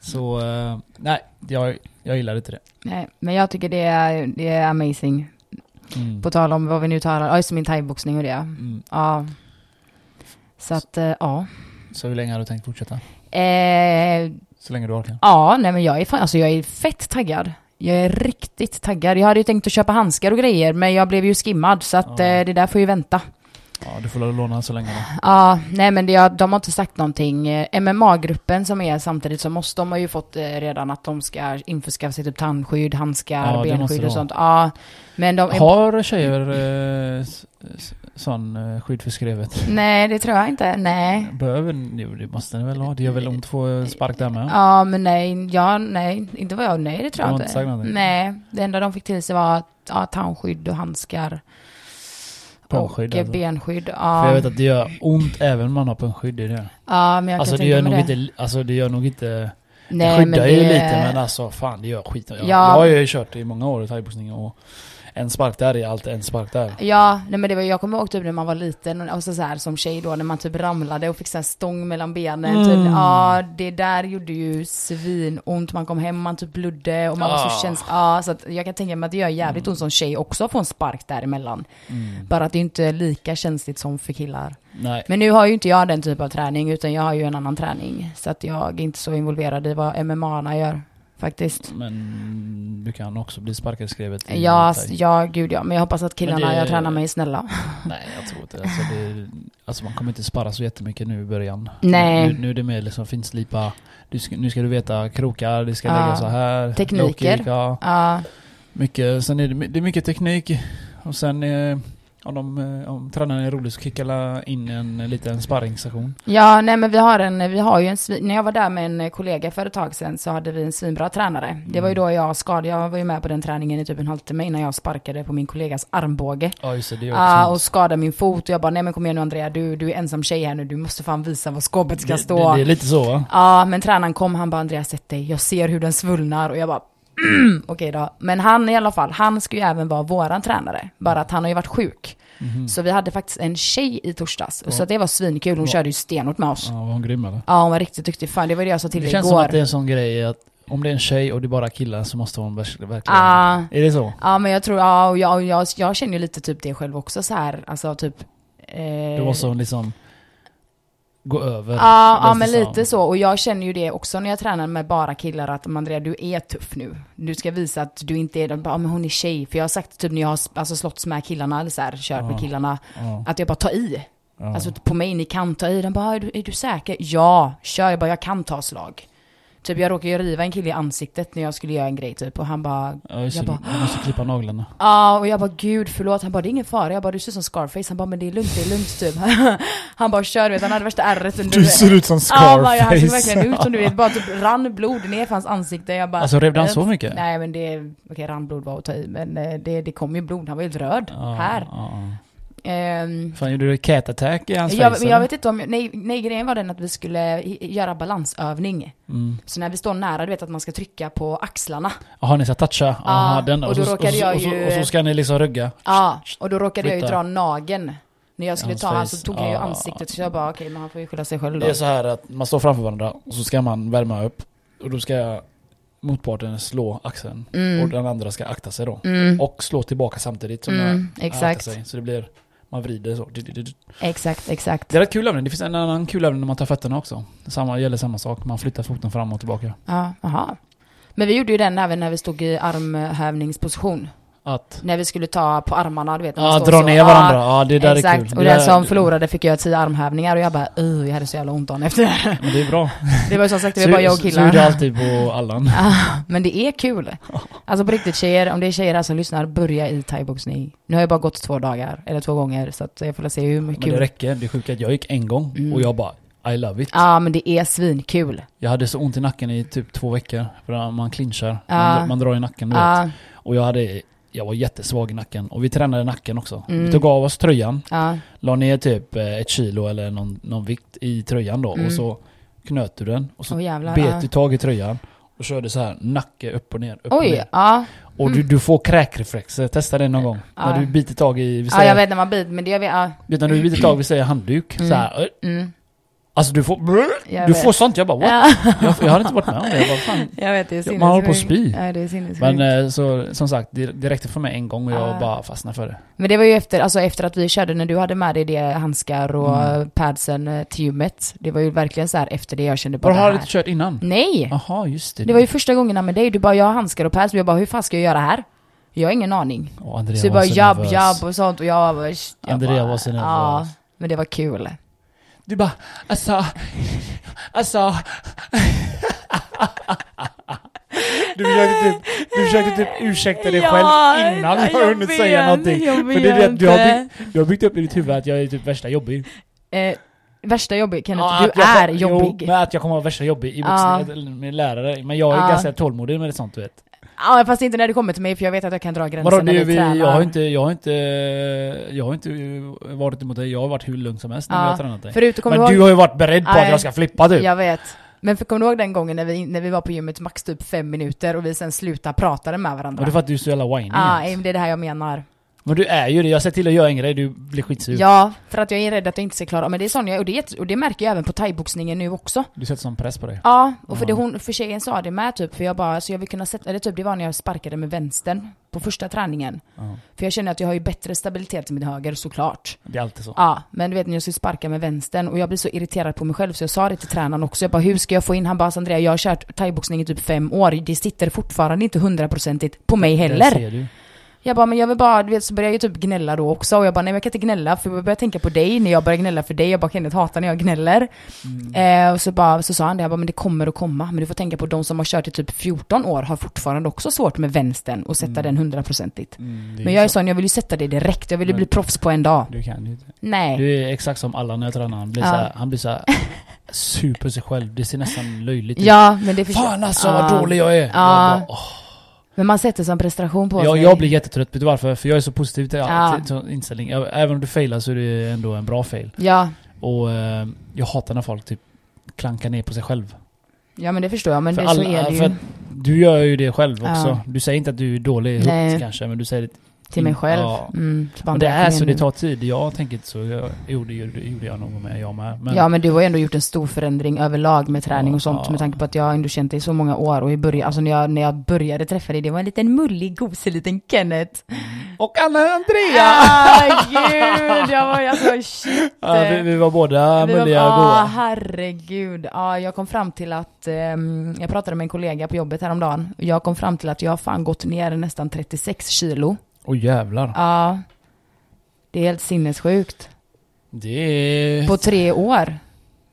A: Så, eh, nej, jag, jag gillade inte det.
B: Nej, men jag tycker det är, det är amazing.
A: Mm.
B: På tal om vad vi nu talar om. Ja, just min thaiboxning och det.
A: Mm.
B: Ja. Så att, eh, ja.
A: Så hur länge har du tänkt fortsätta?
B: Eh,
A: Så länge du orkar?
B: Ja, nej men jag är fan, alltså jag är fett taggad. Jag är riktigt taggad. Jag hade ju tänkt att köpa handskar och grejer, men jag blev ju skimmad så att
A: Ja.
B: eh, det där får ju vänta.
A: Ja, du får låna så länge då.
B: Ja, nej men det, jag- de har inte sagt någonting. Eh, MMA-gruppen som är samtidigt som oss, de har ju fått eh, redan att de ska införskaffa sig typ tandskydd, handskar,
A: Ja, det måste
B: benskydd
A: det
B: och
A: vara.
B: sånt. Ja, men de...
A: Har tjejer eh, s- s- sån eh, skydd för skrevet?
B: Nej, det tror jag inte. Nej.
A: Behöver nu, det måste ni väl ha? Det gör väl ont att få eh, spark där med?
B: Ja, men nej, ja, nej, inte vad jag, nej det
A: De
B: tror jag
A: har
B: inte.
A: inte sagt någonting?
B: Nej, det enda de fick till sig var ja, tandskydd och handskar.
A: Punkskydd
B: och eh,
A: alltså.
B: benskydd.
A: För jag
B: Ja,
A: vet att det gör ont även om man har punkskydd i det.
B: ja men jag
A: Alltså
B: kan
A: det,
B: tänka
A: gör
B: mig
A: nog
B: det.
A: Inte, alltså det gör nog inte...
B: Nej,
A: det skyddar
B: men
A: ju
B: det-
A: lite men alltså fan det gör skit. Jag,
B: Ja.
A: jag har ju kört i många år i thaiboxning och en spark där är allt en spark där.
B: Ja, nej men det var, jag kommer ihåg typ när man var liten och och så, så här, som tjej då när man typ ramlade och fick så här stång mellan benen.
A: Mm.
B: Typ, ja, det där gjorde ju svinont. Man kom hem, man typ blödde och man var
A: Ah.
B: så känns... Ja, så att jag kan tänka mig att det gör jävligt ont som tjej också att få en spark däremellan.
A: Mm.
B: Bara att det inte är lika känsligt som för killar.
A: Nej.
B: Men nu har ju inte jag den typ av träning utan jag har ju en annan träning. Så att jag är inte så involverad i vad MMA gör faktiskt.
A: Men du kan också bli sparkskrivet i
B: Ja,
A: thai.
B: ass- ja, gud ja. Men jag hoppas att killarna
A: det-
B: jag tränar med är snälla.
A: Nej, jag tror inte alltså, det. Alltså man kommer inte sparra så jättemycket nu i början.
B: Nej.
A: Nu, nu är det mer liksom finslipa. Du ska, nu ska du veta krokar, det ska
B: Ja.
A: lägga så här.
B: Tekniker.
A: Low-kick, ja.
B: Ja.
A: Mycket, sen är det, det är mycket teknik. Och sen eh, om, de, eh, om tränaren är rolig så kickar alla in en eh, liten sparringssession.
B: Ja, nej men vi har en, vi har ju en, svin- när jag var där med en kollega för ett tag sedan så hade vi en svinbra tränare. Det var ju
A: Mm.
B: då jag skadade, jag var ju med på den träningen i typ en halvtimme innan jag sparkade på min kollegas armbåge.
A: Ja just det, det är
B: Ah,
A: också
B: och skadade min fot och jag bara, nej men kom igen nu Andrea, du, du är ensam tjej här nu, du måste fan visa var skåpet ska
A: det,
B: stå.
A: det, det är lite så va?
B: Ja, men tränaren kom, han bara Andreas sätt dig, jag ser hur den svullnar och jag bara "Mm, okej då. Men han i alla fall, han ska ju även vara våran tränare, bara att han har ju varit sjuk.
A: Mhm. Mm.
B: Så vi hade faktiskt en tjej i torsdags, så att det var svinkul, hon körde ju stenhårt med oss.
A: Ja, var hon grym eller?
B: Ja, hon var riktigt duktig, fan det var det jag sa till
A: Det
B: dig
A: känns
B: igår.
A: som att det är en sån grej att om det är en tjej och det är bara killar så måste hon vers- verkligen...
B: Ja.
A: Är det så?
B: Ja, men jag tror, ja, och jag, och jag, jag känner ju lite typ det själv också så här, alltså typ... eh,
A: Då måste hon liksom gå över.
B: Ja, ja
A: känns
B: men
A: det
B: lite
A: som.
B: så. Och jag känner ju det också när jag tränar med bara killar att "Men Andrea du är tuff nu. Du ska visa att du inte är den, bara, "Ja, men hon är tjej. För jag har sagt typ när jag har alltså, slåtts med killarna eller så här, kört
A: Ja.
B: med killarna,
A: Ja,
B: att jag bara tar i.
A: ja.
B: Alltså på mig, ni kan ta i. Den bara, är du, är du säker? Ja, kör. Jag bara, jag kan ta slag. Typ jag råkade ju riva en kille i ansiktet när jag skulle göra en grej typ och han bara
A: Ja, just
B: jag
A: det.
B: bara-
A: Du måste klippa naglarna.
B: Ja, och jag bara gud förlåt. Han bara det är ingen fara. Jag bara du ser ut som Scarface. Han bara men det är lugnt, det är lugnt typ. han bara kör du vet, han hade värsta ärret under
C: Du ser ut som
B: Ja, bara, han såg
C: Scarface.
B: verkligen ut som du vet, bara typ rann blod ner för hans ansikte. Jag bara,
A: Alltså redan så
B: eh,
A: mycket?
B: Nej men det, okej rann blod var att ta i men eh, det, det kom ju blod, han var helt röd.
A: Ja,
B: Här.
A: ja,
B: Ehm,
A: ja. Fan, gjorde du cat attack i hans
B: jag,
A: face?
B: men jag
A: eller?
B: vet inte om, jag- nej, nej grejen var den att vi skulle i- göra balansövning.
A: Mm.
B: Så när vi står nära, du vet att man ska trycka på axlarna.
A: Jaha, ni ska toucha? Aha, den.
B: och
A: så,
B: då råkade
A: och, så,
B: jag
A: och, så,
B: ju-
A: och så ska ni liksom rygga?
B: Ja, och då råkade jag ju
A: Flytta.
B: dra nageln. När jag skulle
A: Hans
B: ta han
A: face.
B: så tog jag ju
A: Ja.
B: ansiktet så jag bara okej men han får ju skylla sig själv då.
A: Det är så här att man står framför varandra och så ska man värma upp. Och då ska motparten slå axeln. Och
B: Mm,
A: den andra ska akta sig då.
B: mm,
A: Och slå tillbaka samtidigt som den
B: mm,
A: aktar
B: exakt,
A: sig. Så det blir, man vrider så.
B: exakt, exakt.
A: Det är rätt kul övning. Det finns en annan kul övning när man tar fötterna också. Samma, gäller samma sak. Man flyttar foten fram och tillbaka.
B: Ja, aha. Men vi gjorde ju den även när vi stod i armhävningsposition.
A: Att
B: När vi skulle ta på armarna, du vet. när man
A: ja,
B: står
A: dra
B: så.
A: ner varandra. Ja, det där
B: exakt.
A: är kul.
B: Och
A: Det
B: den
A: där-
B: som förlorade fick göra tio armhävningar och jag bara "Ugh, jag hade så jävla ont dagen efter. det."
A: Men det är bra.
B: Det var ju som sagt, det var bara jag och
A: Så, så gjorde
B: killar.
A: jag alltid på Allan.
B: Ah, Men det är kul. Alltså på riktigt tjejer, om det är tjejer här som lyssnar, börja i thaiboxning. Nu har jag bara gått två dagar, eller två gånger, så att jag får väl se hur
A: Men
B: mycket
A: det
B: kul.
A: räcker. Det är sjukt att jag gick en gång
B: Mm.
A: och jag bara I love it.
B: Ja, men det är svinkul.
A: Jag hade så ont i nacken i typ två veckor. För när man clinchar.
B: Ja.
A: Man, man drar i nacken du vet.
B: Ja,
A: Och jag hade jag var jättesvag i nacken. Och vi tränade nacken också.
B: Mm.
A: Vi tog av oss tröjan.
B: ja,
A: La ner typ eh, ett kilo eller någon, någon vikt i tröjan då.
B: Mm.
A: Och så knöt du den. Och så
B: åh jävlar. Ah.
A: bet
B: ja.
A: du tag i tröjan. Och körde så här nacke upp och ner. Upp och,
B: Oj, Mm.
A: ner.
B: ja.
A: och du, du får kräkreflexer. Testa det någon gång.
B: Ja.
A: När du biter tag i, vi
B: Ja,
A: säger,
B: ah. jag vet när man biter, men det gör vi, ja.
A: vet när du biter tag vi säger handduk.
B: Mm.
A: Så här, eh,
B: Mm,
A: alltså du får,
B: jag
A: du
B: vet. Ah.
A: får sånt. Jag bara what?
B: Ja.
A: Jag, jag har inte varit med om det. Jag bara, fan.
B: Jag vet, det är
A: Ja, man håller på att
B: sinnessjukt.
A: spy.
B: Ja, det är sinnessjukt.
A: Men
B: Men,
A: eh, så, som sagt, det, det räckte för mig en gång och jag
B: Ah.
A: bara fastnade för det.
B: det var ju efter, alltså efter att vi körde, när du hade med dig det handskar och
A: Mm.
B: padsen, eh, till gymmet. Det var ju verkligen så här efter det jag kände
A: Var
B: bara
A: har
B: här.
A: du inte kört innan?
B: Nej!
A: Jaha, just det.
B: Det var ju första gångerna med dig, du bara jag har handskar och pads, och jag bara hur fan ska jag göra här? Jag har ingen aning.
A: Åh, Andrea
B: Så du
A: var
B: bara
A: så
B: jabb,
A: nervös.
B: jabb och sånt och jag bara... Jag
A: Andrea
B: bara,
A: var så nervös.
B: Ja, men det var kul.
A: Du bara, alltså, alltså. Du försökte, typ, du försökte typ ursäkta dig själv innan du har hunnit säga någonting.
B: Jag
A: För det är det att du har byggt, du har byggt upp i ditt huvud att jag är typ värsta jobbig.
B: eh, värsta jobbig, Kenneth,
A: Ja,
B: du
A: att jag-
B: är jobbig.
A: Jo, men att jag kommer vara värsta jobbig i
B: Ja.
A: vuxen, eller med lärare. Men jag är
B: Ja.
A: ganska tålmodig med sånt du vet.
B: Ja, fast inte när det kommer till mig för jag vet att jag kan dra gränsen
A: Vadå,
B: när
A: du,
B: vi,
A: vi,
B: tränar.
A: jag har inte, jag har inte, jag har inte varit emot dig, jag har varit hur lugn som helst när
B: Ja,
A: vi har tränat dig.
B: Förut, kommer
A: Men
B: du
A: du
B: ihåg?
A: har ju varit beredd på att
B: Nej.
A: jag ska flippa typ. du.
B: Jag vet. Men för, kommer du ihåg den gången när vi, när vi var på gymmet max typ fem minuter och vi sen slutade prata med varandra?
A: Men det är för att du är så jävla whiny.
B: ah,
A: Jens.
B: men det är det här jag menar.
A: Men du är ju det. Jag ser till att göra en grej, du blir skitsur.
B: Ja, för att jag är rädd att jag inte ska klara av- Men det är sån jag, och det, är jätte- och det märker jag även på thaiboxningen nu också.
A: Du sätter sån press på dig.
B: Ja, och för, det
A: Ja.
B: hon, för tjejen sa det med typ, för jag bara, så jag vill kunna sätta, eller typ det var när jag sparkade med vänstern på första träningen.
A: Ja.
B: För jag känner att jag har ju bättre stabilitet i min höger såklart.
A: Det är alltid så.
B: Ja, men du vet när jag ska sparka med vänstern och jag blir så irriterad på mig själv så jag sa det till tränaren också. Jag bara, hur ska jag få in? Han bara, "Alltså, Andrea jag har kört thaiboxning i typ fem år. Det sitter fortfarande inte hundraprocentigt på mig
A: Där
B: heller.
A: ser du.
B: Jag bara, men jag vill bara, du vet så började jag ju typ gnälla då också. Och jag bara, nej men jag kan inte gnälla för jag börjar tänka på dig när jag börjar gnälla för dig. Jag bara, Kenneth hatar när jag gnäller.
A: Mm.
B: Eh, och så, bara, så sa han det, jag bara, men det kommer att komma. Men du får tänka på de som har kört i typ 14 år har fortfarande också svårt med vänstern och sätta den hundraprocentigt.
A: Mm, det
B: Men jag är
A: så.
B: sån, jag vill ju sätta det direkt. Jag vill ju
A: Men-
B: bli proffs på en dag.
A: Du kan ju inte.
B: Nej.
A: Du är exakt som alla när jag tränar. Han blir
B: Ja.
A: såhär, han blir såhär sur på sig själv. Det ser nästan löjligt ut.
B: Ja, men det förstår
A: typ- Fan alltså
B: Ja.
A: vad dålig jag är!
B: Ja.
A: Jag, bara, åh.
B: Men man sätter som prestation på
A: jag,
B: sig.
A: jag blir jättetrött, vet du varför? För jag är så positiv till,
B: Ja.
A: till, till inställning. Jag- Även om du failar så är det ändå en bra fail.
B: Ja,
A: Och eh, jag hatar när folk typ klankar ner på sig själv.
B: ja men det förstår jag. Men det, så är det
A: för
B: ju
A: att du gör ju det själv också.
B: Ja.
A: Du säger inte att du är dålig högt
B: Nej.
A: kanske, men du säger det.
B: till mig själv.
A: Ja.
B: Mm, så bara,
A: Och det
B: kom
A: är
B: igen
A: så,
B: nu.
A: det tar tid. Jag tänker inte så. Jag, jo, det gjorde, gjorde jag nog med, jag med. Men,
B: Ja men du har ju ändå gjort en stor förändring överlag med träning och sånt
A: Ja.
B: med tanke på att jag har ändå känt dig i så många år och i början, alltså när jag, när jag började träffa dig, det var en liten mullig gosig liten Kenneth.
A: Och Anna-Andrea!
B: Ah, gud, jag var, alltså shit.
A: Ja, vi, vi var båda
B: Vi var-
A: mulliga och
B: ah,
A: goa.
B: herregud. Ah, jag kom fram till att, ehm, jag pratade med en kollega på jobbet häromdagen, jag kom fram till att jag har fan gått ner nästan 36 kilo.
A: Åh jävlar.
B: Ja. Det är helt sinnessjukt.
A: Det är,
B: På tre år.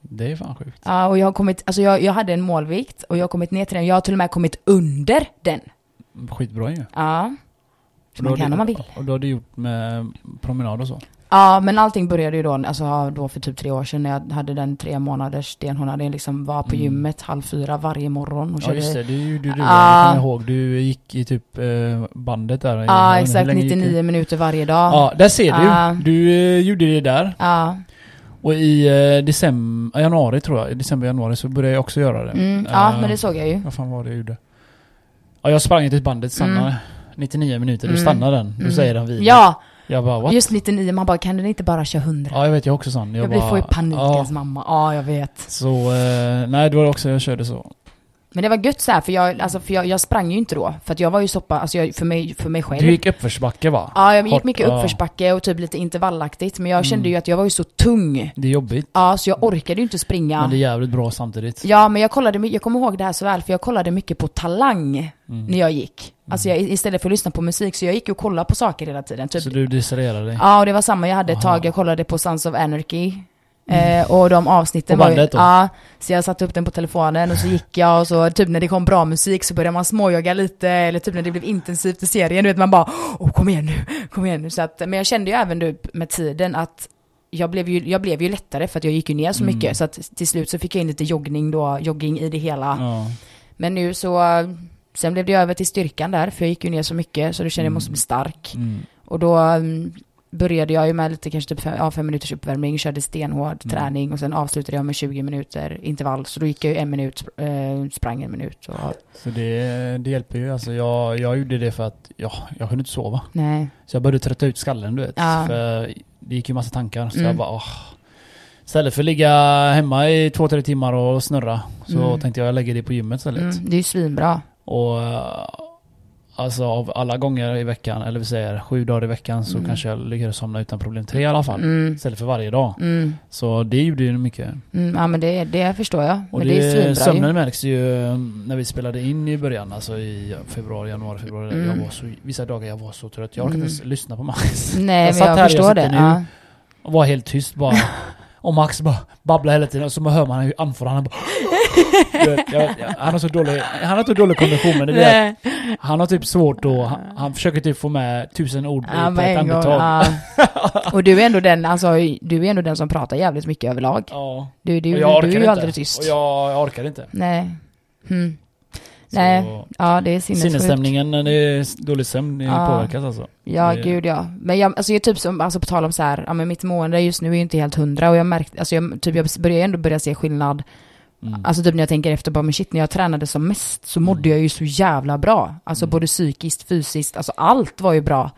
A: det är fan sjukt.
B: Ja, och jag har kommit, alltså jag, jag hade en målvikt och jag har kommit ner till den. Jag har till och med kommit under den.
A: Skitbra ju.
B: Ja.
A: Och då
B: Så man
A: har
B: kan
A: du-
B: om man vill.
A: Och då har du gjort med promenad och så?
B: Ja, men allting började ju då, alltså ja, då för typ tre år sedan när jag hade den tre månaders stenhonade, liksom var på
A: Mm.
B: gymmet halv fyra varje morgon och
A: Ja
B: körde.
A: just det, det gjorde du.
B: Ah.
A: Jag kommer ihåg, du gick i typ eh, bandet där.
B: Ja,
A: Hur
B: Ah, exakt.
A: länge gick du?
B: 99 minuter varje dag. Ja.
A: Ja, där ser du.
B: Ah.
A: Du eh, gjorde det där. Och i eh, december, januari tror jag, i december, januari så började jag också göra det.
B: Mm, ja,
A: Eh,
B: men det såg jag ju.
A: Vad fan var det jag gjorde? Ja, jag sprang inte till bandet, stannade. 99 minuter, du
B: Mm.
A: stannar den. Du
B: Mm.
A: säger den vid.
B: Ja,
A: Jag bara what?
B: just 99, man bara kan den inte bara köra 100?
A: Ja, jag vet, jag är också sån.
B: jag blir
A: bara,
B: får ju alltså.
A: ja.
B: panikens mamma. Ja, jag vet.
A: Så, eh, nej det var också jag körde så.
B: Men det var gött så här, för jag, alltså, för jag, jag sprang ju inte då. För att jag var ju så pass, alltså jag, för, mig, för mig själv.
A: Du gick uppförsbacke va?
B: ja, jag gick
A: Kort,
B: mycket
A: ja.
B: uppförsbacke och typ lite intervallaktigt. Men jag kände
A: Mm.
B: ju att jag var ju så tung.
A: Det är jobbigt,
B: Ja, så jag orkade ju inte springa.
A: men det är jävligt bra samtidigt.
B: Ja, men jag kollade, my- jag kommer ihåg det här så väl, för jag kollade mycket på Talang
A: Mm.
B: när jag gick. Alltså jag, istället för att lyssna på musik, så jag gick ju och kollade på saker hela tiden. Typ,
A: Så du distraherar dig.
B: Ja, och det var samma jag hade ett
A: Aha. Mm.
B: tag. Jag kollade på Sons of Anarchy. Eh, och de avsnitten
A: På
B: var ju,
A: bandet då?
B: ja, så jag satte upp den på telefonen och så gick jag och så typ när det kom bra musik så började man småjogga lite eller typ när det blev intensivt i serien, du vet man bara åh kom igen nu, kom igen nu. Så att, men jag kände ju även du, med tiden att jag blev, ju, jag blev ju lättare för att jag gick ju ner så
A: Mm.
B: mycket så att till slut så fick jag in lite joggning då, jogging i det hela.
A: Ja.
B: Men nu så, sen blev det över till styrkan där för jag gick ju ner så mycket så du kände jag måste bli stark.
A: Mm.
B: Och då mm, började jag ju med lite kanske typ fem, ja, fem minuters uppvärmning, körde stenhård
A: Mm.
B: träning och sen avslutade jag med 20 minuter intervall. Så då gick jag ju en minut, eh, sprang en minut. Och,
A: Så det, det hjälper ju. Alltså jag, jag gjorde det för att ja, jag kunde inte sova.
B: nej.
A: Så jag började trötta ut skallen du vet.
B: Ja.
A: För det gick ju massa tankar. Så
B: Mm.
A: jag bara åh. Istället för att ligga hemma i två, tre timmar och snurra. Så
B: Mm.
A: tänkte jag jag lägger det på gymmet istället.
B: Mm, det är ju svinbra.
A: Och eh, alltså av alla gånger i veckan, eller vi säger sju dagar i veckan så
B: Mm.
A: kanske jag lyckades somna utan problem tre i alla fall.
B: Mm,
A: Istället för varje dag.
B: mm,
A: Så det gjorde ju mycket.
B: mm, ja men det, det förstår jag.
A: Och
B: men
A: det,
B: det, är ju svinbra
A: sömnen
B: ju.
A: märks ju eh, när vi spelade in i början, alltså i februari, januari, februari.
B: Mm.
A: Jag var så, vissa dagar jag var så trött, jag orkade
B: Mm.
A: inte ens lyssna på Max.
B: Nej
A: Jag
B: men
A: satt
B: jag
A: här, jag
B: förstår
A: sitter
B: det.
A: nu.
B: Ja.
A: Och var helt tyst bara. Och Max bara babblar hela tiden och så hör man hur anförande han bara... Du vet, jag, jag, han har så dålig, han har så dålig kondition men det är det att
B: Nej.
A: han har typ svårt att... Han, han försöker typ få med tusen ord
B: Ja,
A: i på
B: men
A: ett
B: en gång,
A: andetag.
B: ja. Och du är ändå den, alltså, du är ändå den som pratar jävligt mycket överlag.
A: Ja.
B: Du, du,
A: Och
B: du
A: jag
B: är
A: orkar
B: ju
A: inte.
B: aldrig tyst.
A: Och jag, jag orkar inte.
B: Nej. Mm.
A: Så
B: Nej, Ja, det är sinnessjukt.
A: Sinnesstämningen, det är dålig sömn, det
B: Ja.
A: påverkas alltså.
B: Ja,
A: Det-
B: gud ja. Men jag, alltså jag är typ som, alltså på tal om så här, ja men mitt mående just nu är ju inte helt hundra och jag märkte, alltså jag, typ jag börjar ändå börja se skillnad
A: Mm.
B: Alltså typ när jag tänker efter bara, men shit när jag tränade som mest så mådde jag ju så jävla bra. Alltså
A: Mm.
B: både psykiskt, fysiskt, alltså allt var ju bra.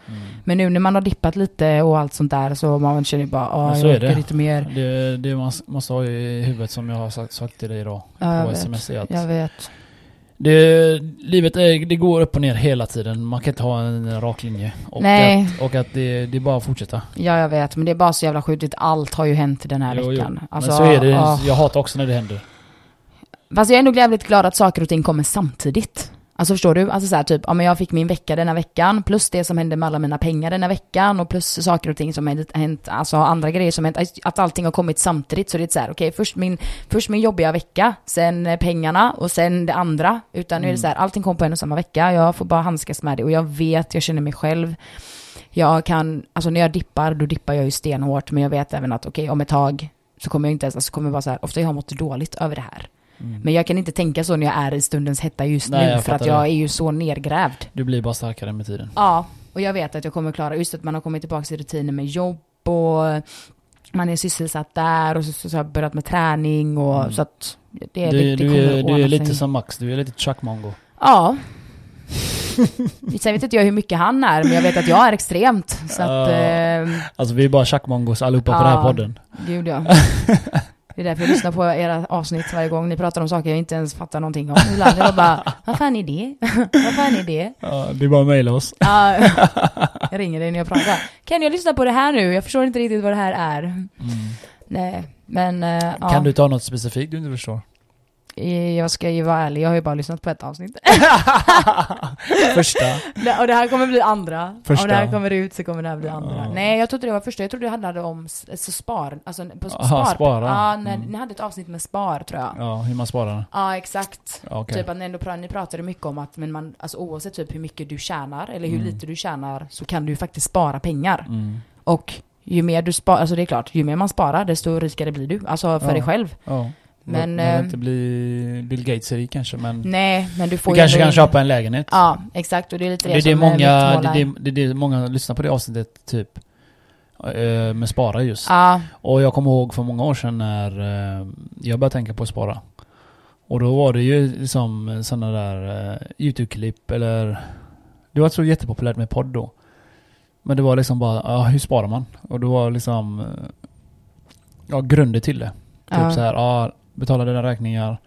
B: Men nu när man har dippat lite och allt sånt där så man känner ju bara, ah,
A: Men så
B: jag
A: är det.
B: orkar inte mer.
A: Det, det man s- måste ha i huvudet som jag har sagt, sagt till dig idag
B: Ja, jag
A: på
B: vet.
A: sms är
B: Jag
A: att
B: vet.
A: det, livet är, det går upp och ner hela tiden. Man kan inte ha en rak linje. Och
B: Nej.
A: att, och att det, det är bara att fortsätta.
B: Ja, jag vet. Men det är bara så jävla sjukt. Allt har ju hänt den här
A: Jo, jo.
B: veckan. Alltså,
A: Men så är det.
B: ah.
A: Jag hatar också när det händer.
B: Fast jag är ändå jävligt glad att saker och ting kommer samtidigt. Alltså förstår du? Alltså så här, typ, ja men jag fick min vecka denna veckan, plus det som hände med alla mina pengar denna veckan, och plus saker och ting som har hänt, alltså andra grejer som har hänt, att allting har kommit samtidigt. Så det är så här, okej, först, min, först min jobbiga vecka, sen eh, pengarna och sen det andra. Utan nu är det så här, allting kom på en och samma vecka, jag får bara handskas med det och jag vet, jag känner mig själv. Jag kan, alltså när jag dippar, då dippar jag ju stenhårt, men jag vet även att okej, om ett tag så kommer jag inte ens, alltså kommer jag vara så här, ofta jag har mått dåligt över det här. Men jag kan inte tänka så när jag är i stundens hetta just
A: Mm. Nej,
B: nu
A: jag
B: för att
A: fattar
B: jag
A: det.
B: är ju så nergrävd.
A: Du blir bara starkare med tiden.
B: Ja, och jag vet att jag kommer klara, just att man har kommit tillbaka till rutiner med jobb och man är sysselsatt där och så, så, så har jag börjat med träning och
A: Mm.
B: så att det, är
A: Du,
B: det, det
A: du,
B: kommer
A: är,
B: att
A: du
B: ordna
A: är lite
B: sig.
A: som Max. Du är lite Chuck Mongo.
B: Ja. Sen vet inte jag hur mycket han är, men jag vet att jag är extremt. Så att,
A: Ja.
B: eh,
A: Alltså vi är bara Chuck Mongos allihopa på
B: Ja.
A: den här podden.
B: gud ja. Det är därför jag lyssnar på era avsnitt varje gång. Ni pratar om saker jag inte ens fattar någonting om. Ibland jag bara, vad fan är det? Vad fan är det?
A: Ja, det är bara att mejla oss.
B: Ja, jag ringer dig när jag pratar. Kan jag lyssna på det här nu? Jag förstår inte riktigt vad det här är. Nej, men eh, ja.
A: Mm. Kan du ta något specifikt du inte förstår?
B: Eh, jag ska ju vara ärlig, jag har ju bara lyssnat på ett avsnitt.
A: Första.
B: Det- och det här kommer bli andra.
A: Första.
B: Om det här kommer ut så kommer det här bli andra.
A: Ja.
B: Nej, jag trodde det var första. Jag trodde det handlade om s- alltså spar. Alltså på s-
A: Aha,
B: spar.
A: spara.
B: Ja, när,
A: Mm.
B: ni hade ett avsnitt med spar tror jag. Ja,
A: Ja, hur man sparar.
B: exakt.
A: Ja, Okej.
B: Typ att ni, ändå, pra- ni pratade mycket om att men man, alltså, oavsett typ hur mycket du tjänar eller hur
A: Mm.
B: lite du tjänar så kan du ju faktiskt spara pengar.
A: Mm.
B: Och ju mer du sparar, alltså det är klart, ju mer man sparar desto rikare blir du. Alltså för
A: Ja.
B: dig själv.
A: Ja.
B: Men,
A: Men... Jag
B: eh,
A: vill inte bli Bill Gates rik kanske men...
B: Nej, men du får
A: Du
B: ju
A: kanske
B: ändå
A: kan
B: in-
A: köpa en lägenhet.
B: Ja, exakt. Och det är lite
A: Det är
B: som
A: det
B: eh,
A: många,
B: mitt
A: det
B: mål
A: är det, det är det många lyssnar på det avsnittet typ. Eh, Med spara just.
B: Ja,
A: Och jag kommer ihåg för många år sedan när eh, jag började tänka på att spara. Och då var det ju liksom sådana där eh, YouTube-klipp eller... Det var så jättepopulärt med podd då. Men det var liksom bara, ja hur sparar man? Och då var liksom... eh, Ja, grunder till det. Typ
B: ja.
A: så här, ja, betala dina räkningar.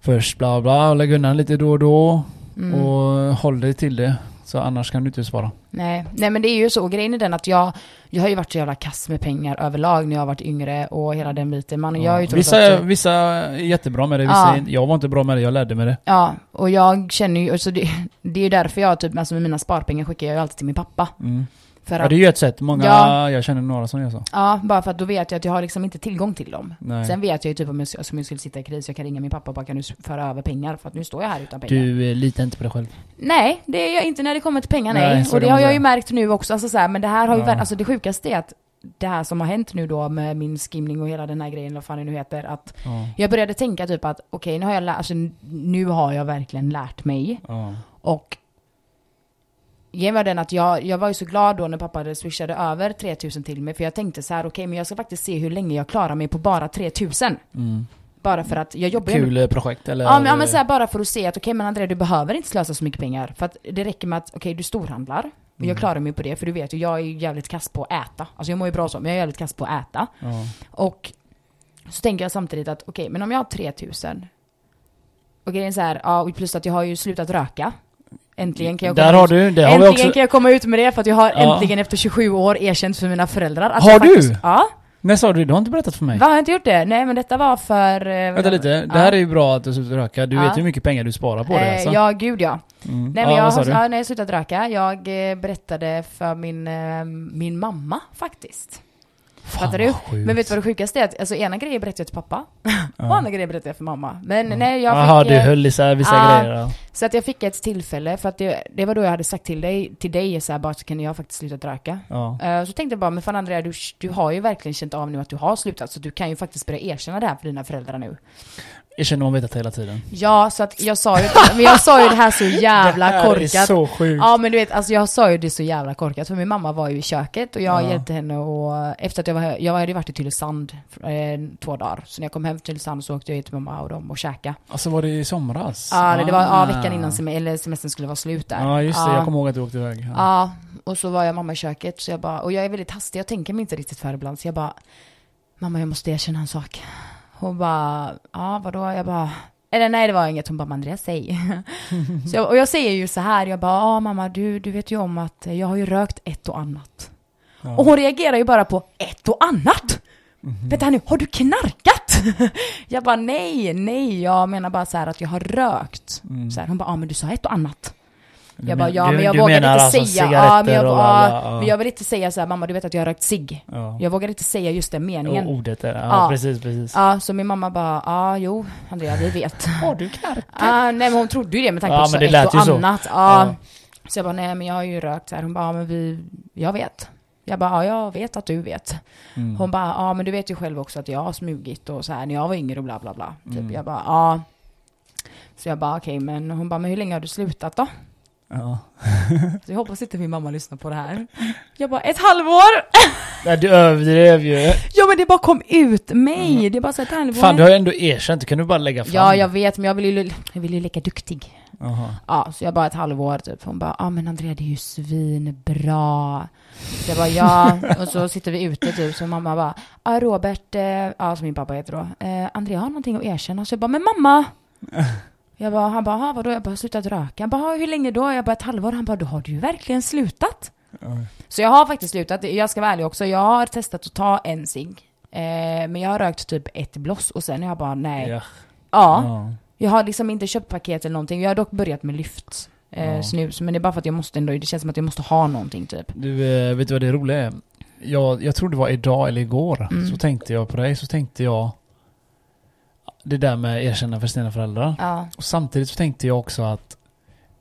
A: Först bla bla, lägg undan lite då och då.
B: Mm.
A: Och håll dig till det. Så annars kan du inte spara.
B: Nej. Nej men det är ju så, Och grejen är den att jag, jag har ju varit så jävla kass med pengar överlag när jag har varit yngre och hela den biten. Man, jag har ju trots
A: vissa,
B: allt-
A: vissa är jättebra med det, vissa
B: Ja.
A: är, jag var inte bra med det, jag lärde mig det.
B: Ja, och jag känner ju, alltså det, det är ju därför jag typ, alltså med mina sparpengar skickar jag ju alltid till min pappa.
A: Mm.
B: För
A: Ja,
B: att,
A: det är ju ett sätt. Många,
B: Ja.
A: jag känner några som gör så.
B: ja, bara för att då vet jag att jag har liksom inte tillgång till dem.
A: Nej.
B: Sen vet jag ju typ om jag, alltså, om jag skulle sitta i kris, jag kan ringa min pappa och bara kan du s- föra över pengar för att nu står jag här utan pengar.
A: Du eh, litar inte på dig själv.
B: Nej, det är jag inte när det kommer till pengar nej.
A: Nej, så
B: och det
A: kan man
B: har jag
A: säga.
B: ju märkt nu också, alltså så här, men det här har ju,
A: Ja.
B: ja. alltså det sjukaste är att det här som har hänt nu då med min skimning och hela den här grejen, vad fan det nu heter, att
A: Ja.
B: jag började tänka typ att okej, nu har jag lärt, alltså nu har jag verkligen lärt mig
A: Ja.
B: och grejen var den att jag, jag var ju så glad då när pappa hade swishade över 3000 till mig för jag tänkte så här okej men jag ska faktiskt se hur länge jag klarar mig på bara 3000.
A: Mm.
B: Bara för att jag jobbar ju
A: Kul eh, projekt eller?
B: Ja men, ja, men så här, bara för att se att okej men André du behöver inte slösa så mycket pengar. För att det räcker med att okej du storhandlar. Och
A: Mm.
B: jag klarar mig på det för du vet ju jag är ju jävligt kass på att äta. Alltså jag mår ju bra så men jag är jävligt kass på att äta.
A: Ja.
B: Och så tänker jag samtidigt att okej men om jag har 3000. Och grejen är så här, ja och plus att jag har ju slutat röka. Äntligen kan jag
A: Där
B: komma
A: har
B: ut.
A: du, det har vi
B: Äntligen
A: också.
B: kan jag komma ut med det för att jag har
A: Ja.
B: äntligen efter 27 år erkänt för mina föräldrar att
A: Har
B: jag
A: du?
B: Ja,
A: När sa du det? Du har inte berättat för mig.
B: va, har jag inte gjort det? Nej men detta var för... eh,
A: Vänta
B: vad-
A: lite, det
B: Ja.
A: här är ju bra att du slutar röka. Du
B: Ja.
A: vet ju hur mycket pengar du sparar på det
B: Eh,
A: alltså.
B: Ja, gud ja.
A: Mm.
B: Nej men
A: Ja,
B: jag,
A: vad sa
B: har,
A: du?
B: ja, nej, jag har slutat röka. Jag eh, berättade för min, eh, min mamma faktiskt.
A: Fan,
B: fattar du?
A: vad sjukt.
B: Men vet du vad det sjukaste är? Att, alltså ena grejen berättade jag till pappa
A: Ja.
B: och andra grejen berättade jag för mamma. Men
A: Ja.
B: nej, jag
A: Jaha,
B: fick,
A: du
B: eh,
A: höll isär vissa
B: ja.
A: grejer. ja.
B: så att jag fick ett tillfälle för att det, det var då jag hade sagt till dig, till dig så här, bara så kan jag faktiskt sluta röka.
A: Ja.
B: Eh, Så tänkte jag bara, men fan Andrea, du, du har ju verkligen känt av nu att du har slutat, så du kan ju faktiskt börja erkänna det här för dina föräldrar nu.
A: Jag känner man vetat hela tiden.
B: Ja, så att jag sa ju, men jag sa ju det här så jävla
A: det här är
B: korkat.
A: så sjukt.
B: Ja men du vet, alltså jag sa ju det så jävla korkat för min mamma var ju i köket och jag
A: Ja.
B: hjälpte henne och efter att jag var här- jag hade ju varit i Tylösand eh, två dagar. Så när jag kom hem till Tylösand så åkte jag hit till mamma och dem och käka.
A: Alltså var det i somras?
B: Ja, eller det var ja,
A: Ah.
B: veckan innan sem- eller semestern skulle vara slut där.
A: Ja just det,
B: Ja.
A: jag kommer ihåg att du åkte iväg. Ja.
B: Ja, och så var jag mamma i köket så jag bara, och jag är väldigt hastig, jag tänker mig inte riktigt för ibland så jag bara Mamma jag måste erkänna en sak. Hon bara, ja vadå? Jag bara, eller nej det var inget. Hon bara, men Andrea säg. så jag, och jag säger ju så här, jag bara, ja mamma du, du vet ju om att jag har ju rökt ett och annat.
A: Ja.
B: Och hon reagerar ju bara på ett och annat! Vänta här nu, har du knarkat? jag bara nej, nej, jag menar bara så här att jag har rökt. Så här, hon bara, ja men du sa ett och annat.
A: Mm. Du
B: Jag bara,
A: men-
B: ja
A: du-
B: men jag
A: du
B: vågar inte
A: menar alltså
B: säga, ja, men jag,
A: cigaretter och
B: ja,
A: alla, ja.
B: men jag vill inte säga så här, mamma du vet att jag har rökt cigg.
A: Ja.
B: Jag vågar inte säga just den meningen.
A: Och ordet är, ja,
B: Ja.
A: precis, precis.
B: Ja, så min mamma bara, ja jo Andrea vi vet.
A: Har du knark?
B: Ah, nej men hon trodde ju det med tanke
A: Ja,
B: på så
A: men det
B: ett
A: lät
B: och
A: ju så.
B: annat. Ja.
A: Ja.
B: Så jag bara, nej men jag har ju rökt så här. Hon bara, ja men vi, jag vet. Jag bara, ja jag vet att du vet.
A: Mm.
B: Hon bara, ja men du vet ju själv också att jag har smugit och så här när jag var yngre och bla bla bla. Typ.
A: Mm.
B: Jag bara, ja. Så jag bara, okej men hon bara, men hur länge har du slutat då?
A: Ja.
B: Så jag hoppas inte min mamma lyssnar på det här. Jag bara, ett halvår!
A: Nej, du överdrev ju.
B: Ja men det bara kom ut mig! Det bara så här, "Daniel,
A: Mm. Fan,
B: vad
A: du har ju ändå erkänt. Du kan ju bara lägga fram.
B: Ja jag vet men jag vill ju, jag vill ju leka duktig.
A: Jaha.
B: Ja, så jag bara ett halvår typ. Hon bara, ja ah, men Andrea det är ju svinbra. Så jag bara, ja. Och så sitter vi ute typ. Så mamma bara, ja ah, Robert, eh, ja som min pappa heter då. Eh, Andrea har någonting att erkänna. Så jag bara, men mamma! Jag bara, han bara, "Ah, vadå? Jag bara, slutat röka. Jag bara, "Ah, hur länge då? Jag bara, ett halvår. Han bara, då har du ju verkligen slutat.
A: Oj.
B: Så jag har faktiskt slutat, jag ska vara ärlig också, jag har testat att ta en cigg. Eh, men jag har rökt typ ett bloss och sen har jag bara nej. Ja.
A: Ja. Ja.
B: Jag har liksom inte köpt paket eller någonting, jag har dock börjat med lyft. Eh,
A: Ja.
B: Snus, men det är bara för att jag måste ändå, det känns som att jag måste ha någonting typ.
A: Du, eh, vet du vad det roliga är? Jag, jag tror det var idag eller igår,
B: Mm.
A: så tänkte jag på dig, så tänkte jag det där med erkänna för sina föräldrar.
B: Ja.
A: Och samtidigt så tänkte jag också att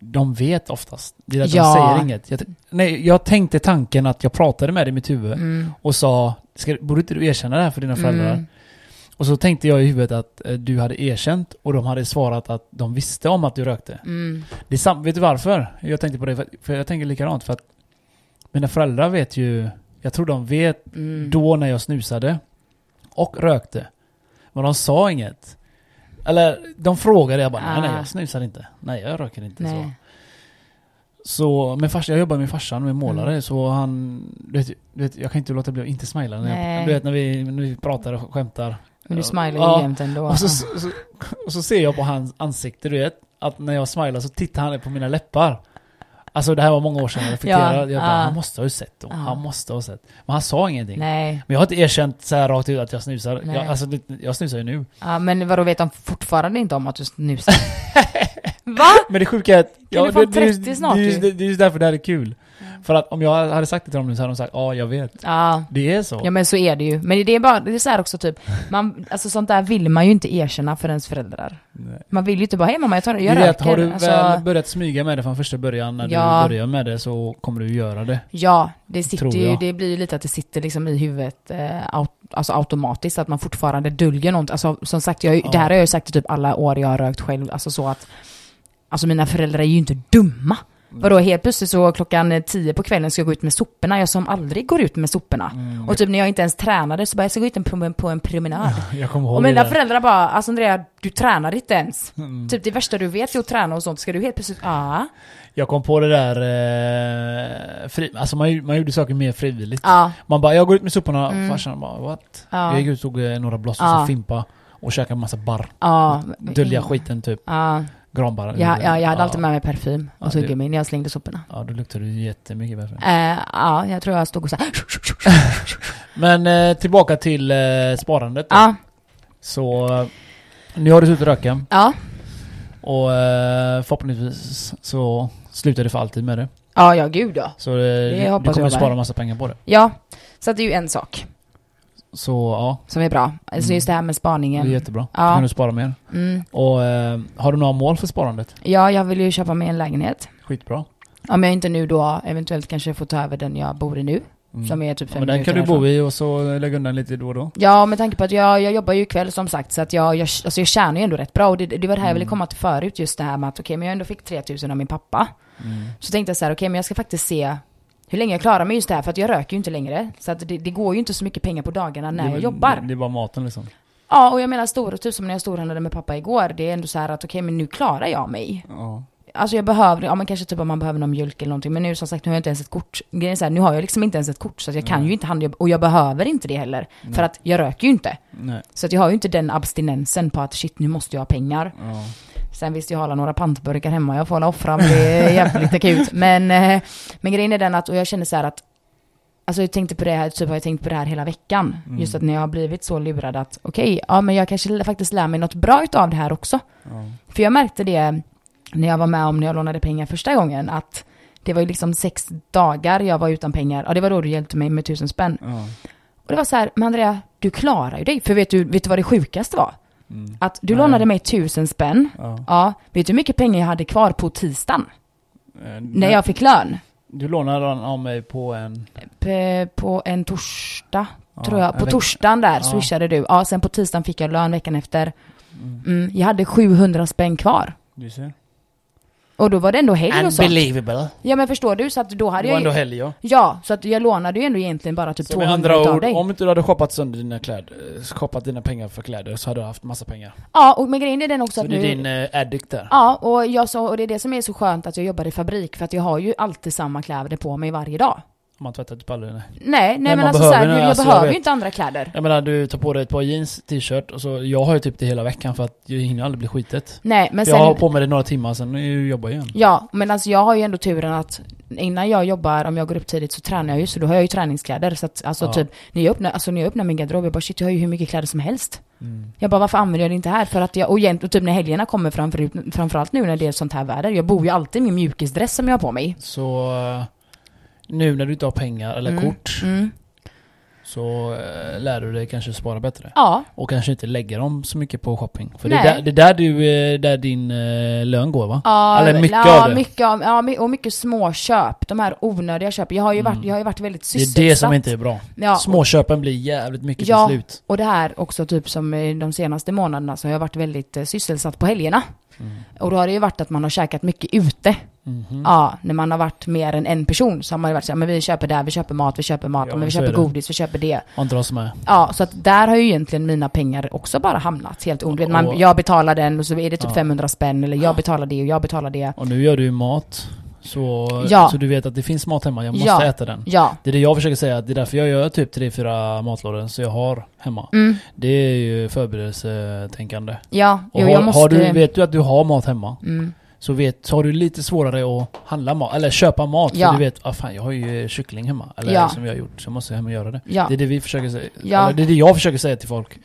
A: de vet oftast. Det är att
B: Ja.
A: de säger inget. Jag, t- nej, jag tänkte tanken att jag pratade med dig i mitt huvud
B: Mm.
A: och sa, ska, borde inte du erkänna det här för dina föräldrar?
B: Mm.
A: Och så tänkte jag i huvudet att eh, du hade erkänt och de hade svarat att de visste om att du rökte.
B: Mm.
A: Det är sam- vet du varför? Jag tänkte på det, för, att- för jag tänker likadant. För att mina föräldrar vet ju, jag tror de vet
B: Mm.
A: då när jag snusade och rökte. Men de sa inget. Eller de frågade, jag bara nej, nej
B: Ah.
A: jag snusar inte. Nej jag röker inte. Så.
B: Nej.
A: Så, men farsan, jag jobbar med farsan, med målare,
B: Mm.
A: så han... Du vet, du vet, jag kan inte låta bli att inte smila när
B: Nej.
A: jag, Du vet när vi, när vi pratar och skämtar.
B: Men du smilar ju
A: Ja.
B: jämt ändå.
A: Och så, så, så, och så ser jag på hans ansikte, du vet, att när jag smilar så tittar han på mina läppar. Alltså det här var många år sedan, jag reflekterar.
B: Ja,
A: jag bara,
B: ja.
A: han måste ha ju sett då.
B: Ja.
A: Han måste ha sett. Men han sa ingenting.
B: Nej.
A: Men jag har inte erkänt så här rakt ut att jag snusar.
B: Nej.
A: Jag, alltså, det- jag snusar ju nu.
B: Ja, men vadå vet de fortfarande inte om att du snusar? Va?
A: Men det sjuka är att...
B: är fan
A: det, är
B: 30
A: just-
B: snart
A: det, är just-
B: ju. Mm.
A: det är just därför det här är kul. För att om jag hade sagt det till dem nu så hade de sagt ja, jag vet.
B: Ja.
A: Det är så.
B: Ja men så är det ju. Men det är bara, det är så här också typ, man, alltså sånt där vill man ju inte erkänna för ens föräldrar.
A: Nej.
B: Man vill ju inte bara, hej mamma jag tar det, jag
A: det är att
B: röker.
A: har du
B: alltså,
A: väl börjat smyga med det från första början, när
B: Ja.
A: du börjar med det så kommer du göra det.
B: Ja, det sitter
A: Tror
B: ju,
A: jag.
B: det blir ju lite att det sitter liksom i huvudet eh, aut, alltså automatiskt, att man fortfarande döljer något. Alltså som sagt, jag, har ju-
A: Ja.
B: det här har jag ju sagt i typ alla år jag har rökt själv, alltså så att, alltså mina föräldrar är ju inte dumma. Vadå helt plötsligt så klockan tio på kvällen ska jag gå ut med soporna, jag som aldrig går ut med soporna.
A: Mm.
B: Och typ när jag inte ens tränade så bara, jag ska gå ut en prom- på en promenad.
A: Jag kommer ihåg
B: Och mina
A: det där.
B: föräldrar bara, alltså Andrea, du tränar inte ens.
A: Mm.
B: Typ det värsta du vet är att träna och sånt, ska du helt plötsligt, ja.
A: Jag kom på det där... Eh, fri, alltså man, ju- man gjorde saker mer frivilligt.
B: Ja,
A: Man bara, jag går ut med soporna.
B: Mm.
A: Farsan bara, what?
B: Ja.
A: Jag gick ut och tog eh, några blås och
B: Ja.
A: så fimpa. Och käkade en massa barr.
B: ja.
A: Dölja skiten typ.
B: Ja,
A: Granbarr.
B: ja, ja, jag hade alltid med mig parfym
A: Ja,
B: och
A: det-
B: tuggummi när jag slängde soporna.
A: Ja, då luktar du jättemycket bättre.
B: Eh, ja, jag tror jag stod och så här.
A: Men eh, tillbaka till eh, sparandet då.
B: Ja,
A: Så... eh, Nu har du slutat röka.
B: ja,
A: Och eh, förhoppningsvis så slutar du för alltid med det.
B: ja, ja, gud ja.
A: Så eh, du,
B: hoppas
A: du kommer
B: jag med.
A: spara massa pengar på det.
B: Ja, så att det är ju en sak
A: Så ja,
B: som är bra. Alltså just det här med
A: Mm. det är
B: spaningen.
A: jättebra.
B: Ja.
A: Då kan du spara mer.
B: Mm.
A: Och eh, har du några mål för sparandet?
B: Ja, jag vill ju köpa mig en lägenhet.
A: Skitbra.
B: Om jag inte nu då eventuellt kanske får ta över den jag bor i nu.
A: Mm.
B: Som är typ fem
A: Men den
B: minuter
A: kan du
B: härifrån.
A: bo i och så lägga undan lite då och då.
B: Ja, med tanke på att jag, jag jobbar ju kväll som sagt, så att jag, jag, alltså jag tjänar ju ändå rätt bra. Och det, det var det här jag ville komma till förut, just det här med att okej, men jag ändå fick 3000 av min pappa.
A: Mm.
B: Så tänkte jag så här, okej, men jag ska faktiskt se hur länge jag klarar mig just det här, för att jag röker ju inte längre. Så att det, det går ju inte så mycket pengar på dagarna
A: Det
B: när
A: är
B: jag
A: väl-
B: jobbar.
A: Det, det är bara maten liksom.
B: Ja, och jag menar stora, typ som när jag storhandlade med pappa igår, det är ändå så här att okej, men nu klarar jag mig.
A: Ja.
B: Alltså jag behöver, ja men kanske typ om man behöver någon mjölk eller någonting, men nu som sagt, nu har jag inte ens ett kort. Grejen är så här, nu har jag liksom inte ens ett kort, så att jag kan ju inte handla, och jag behöver inte det heller. För att jag röker ju inte.
A: Nej.
B: Så att jag har ju inte den abstinensen på att shit, nu måste jag ha pengar.
A: Ja.
B: Sen visst, jag har alla några pantburkar hemma jag får hålla offra, men det är jävligt akut. Men, eh, men grejen är den att, och jag känner så här att, alltså jag tänkte på det här, typ har jag tänkt på det här hela veckan. Just att när jag har blivit så lurad att, okej, ja men jag kanske faktiskt lär mig något bra utav det här också.
A: Ja.
B: För jag märkte det när jag var med om när jag lånade pengar första gången, att det var ju liksom sex dagar jag var utan pengar. Ja, det var då du hjälpte mig med tusen spänn.
A: Ja.
B: Och det var så här, men Andrea, du klarar ju dig. För vet du, vet du vad det sjukaste var?
A: Mm.
B: Att du
A: Nej.
B: lånade mig tusen spänn.
A: ja.
B: Ja, vet du hur mycket pengar jag hade kvar på tisdagen?
A: Eh,
B: När jag fick lön.
A: Du lånade den av mig på en...
B: P- På en torsdag,
A: ja,
B: tror jag. På
A: eller-
B: torsdagen där
A: Ja.
B: swishade du. Ja, sen på tisdagen fick jag lön veckan efter.
A: Mm.
B: Mm, jag hade 700 spänn kvar.
A: Du ser.
B: Och då var det ändå helg och sånt.
A: Unbelievable.
B: Ja men förstår du, så att då hade
A: Det var
B: jag
A: ändå
B: ju...
A: helg ja.
B: Ja, så att jag lånade ju ändå egentligen bara typ
A: Så med
B: 200
A: andra
B: av
A: ord,
B: dig.
A: om inte du hade shoppat sönder dina kläder, eh, shoppat dina pengar för kläder så hade du haft massa pengar.
B: Ja, och men grejen är den också
A: Så
B: att
A: det är
B: nu...
A: din eh, addict där.
B: Ja, och, jag så, och det är det som är så skönt att jag jobbar i fabrik, för att jag har ju alltid samma kläder på mig varje dag.
A: Om man tvättar typ aldrig. nej.
B: Nej,
A: Nej,
B: nej, men
A: man
B: alltså
A: behöver
B: såhär,
A: det,
B: jag
A: alltså, jag
B: behöver
A: vet.
B: ju inte andra kläder.
A: Jag menar du tar på dig ett par jeans, t-shirt och så, jag har ju typ det hela veckan för att jag hinner aldrig bli skitet.
B: Nej, men
A: jag har
B: sen...
A: på mig det några timmar, sen är jag jobbar igen.
B: Ja, men alltså jag har ju ändå turen att innan jag jobbar, om jag går upp tidigt så tränar jag ju, så då har jag ju träningskläder. Så att alltså
A: Ja.
B: typ, när jag öppnar, alltså när jag öppnar min garderob, jag bara shit, jag har ju hur mycket kläder som helst. Jag bara varför använder jag det inte här? För att jag, och, egent- och typ när helgerna kommer framför, framförallt nu när det är sånt här väder, jag bor ju alltid i min mjukisdress som jag har på mig.
A: Så eh, nu när du inte har pengar eller
B: Mm,
A: kort
B: Mm.
A: så eh, lär du dig kanske spara bättre.
B: Ja,
A: Och kanske inte lägga dem så mycket på shopping. För det
B: Nej.
A: är där, det är där, du, eh, där din eh, lön går va?
B: Ja,
A: Eller mycket
B: ja,
A: av det.
B: Mycket av, ja, my- och mycket småköp. De här onödiga köpen. Jag har ju varit,
A: Mm.
B: jag har ju varit väldigt
A: Det
B: sysselsatt.
A: är det som inte är bra.
B: Ja, och,
A: Småköpen blir jävligt mycket
B: Ja.
A: till slut.
B: och det här också typ som eh, de senaste månaderna så har jag varit väldigt eh, sysselsatt på helgerna.
A: Mm.
B: Och då har det ju varit att man har käkat mycket ute.
A: Mhm.
B: Ja, när man har varit mer än en person så har man ju varit så här, men vi köper där, vi köper mat, vi köper mat,
A: Ja,
B: men vi
A: så är
B: köper
A: det.
B: godis, vi köper det.
A: Och inte oss med.
B: Ja, så att där har ju egentligen mina pengar också bara hamnat helt onödigt. Man,
A: Och-
B: jag betalar den och så är det typ
A: Ja.
B: 500 spänn eller jag betalar det och jag betalar det.
A: Och nu gör du ju mat. Så,
B: Ja.
A: så du vet att det finns mat hemma, jag måste
B: Ja.
A: äta den.
B: Ja.
A: Det är det jag försöker säga, att det är därför jag gör typ 3-4 matlådor så jag har hemma.
B: Mm.
A: Det är ju förberedelsetänkande.
B: Ja,
A: Och
B: jo,
A: har,
B: jag måste...
A: har du, vet du att du har mat hemma
B: Mm.
A: så vet, så har du lite svårare att handla mat, eller köpa mat.
B: Ja.
A: För du vet, ah, fan jag har ju kyckling hemma. Eller
B: Ja.
A: som jag har gjort, så jag måste hem och göra det.
B: Ja.
A: Det är det vi försöker säga.
B: Ja.
A: Eller det är det jag försöker säga till folk.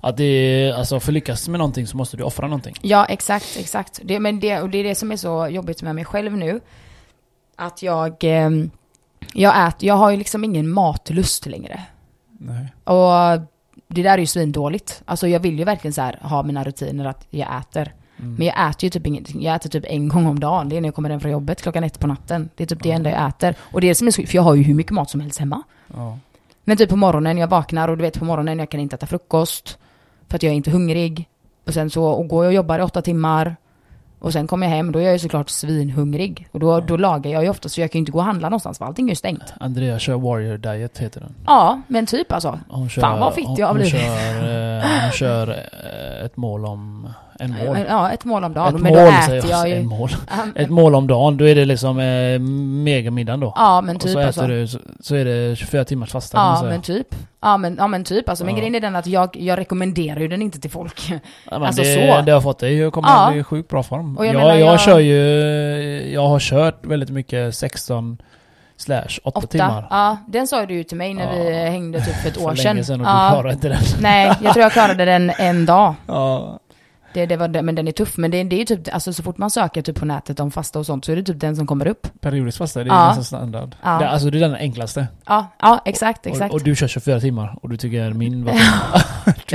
A: Att det är, alltså för att lyckas med någonting så måste du offra någonting.
B: ja, exakt, exakt. Det, men det, och det är det som är så jobbigt med mig själv nu. Att jag, eh, jag äter, jag har ju liksom ingen matlust längre.
A: Nej.
B: Och det där är ju svindåligt. Alltså jag vill ju verkligen så här ha mina rutiner att jag äter.
A: Mm.
B: Men jag äter ju typ ingenting. Jag äter typ en gång om dagen. Det är när jag kommer hem från jobbet klockan ett på natten. Det är typ det
A: Ja.
B: enda jag äter. Och det är det som är så, för jag har ju hur mycket mat som helst hemma.
A: Ja.
B: Men typ på morgonen, jag vaknar och du vet på morgonen, jag kan inte äta frukost. För att jag är inte hungrig. Och sen så och går jag och jobbar i åtta timmar. Och sen kommer jag hem, då är jag ju såklart svinhungrig. Och då, då lagar jag ju ofta, så jag kan ju inte gå och handla någonstans för allting är ju stängt.
A: Andrea kör warrior diet heter den.
B: Ja, men typ alltså.
A: Hon kör,
B: Fan, vad fitt jag
A: hon, hon
B: blir.
A: kör, eh, hon kör eh, ett mål om... En mål.
B: Ja, ett mål om dagen.
A: ett
B: men
A: mål
B: då
A: säger
B: äter jag
A: En
B: ju...
A: mål.
B: Ja,
A: Ett mål om dagen, då är det liksom eh, megamiddagen då.
B: Ja, men
A: och
B: typ
A: så äter
B: alltså.
A: du, så, så är det 24 timmars fasta kan man
B: Ja,
A: säga.
B: men typ. Ja, men, ja, men typ alltså. Men
A: Ja.
B: grejen är den att jag, jag rekommenderar ju den inte till folk.
A: Ja, men
B: alltså
A: det,
B: så.
A: det har fått dig att komma
B: Ja.
A: i sjukt bra form.
B: Och
A: jag,
B: jag
A: jag,
B: menar, jag-
A: kör ju... Jag har kört väldigt mycket 16 slash 8 timmar.
B: Ja, den sa ju du ju till mig när
A: Ja.
B: vi hängde typ för ett år
A: för
B: sedan.
A: länge sedan och
B: ja.
A: du klarar inte den.
B: Nej, jag tror jag klarade den en dag.
A: Ja.
B: Det, det var, den- men den är tuff. Men det, det är ju typ, alltså så fort man söker typ på nätet om fasta och sånt så är det typ den som kommer upp.
A: Periodiskt fasta, det är
B: Ja.
A: ganska standard.
B: Ja.
A: Det, alltså det är den enklaste.
B: Ja, ja exakt, exakt.
A: Och, och
B: Och,
A: du kör 24 timmar och du tycker min var... du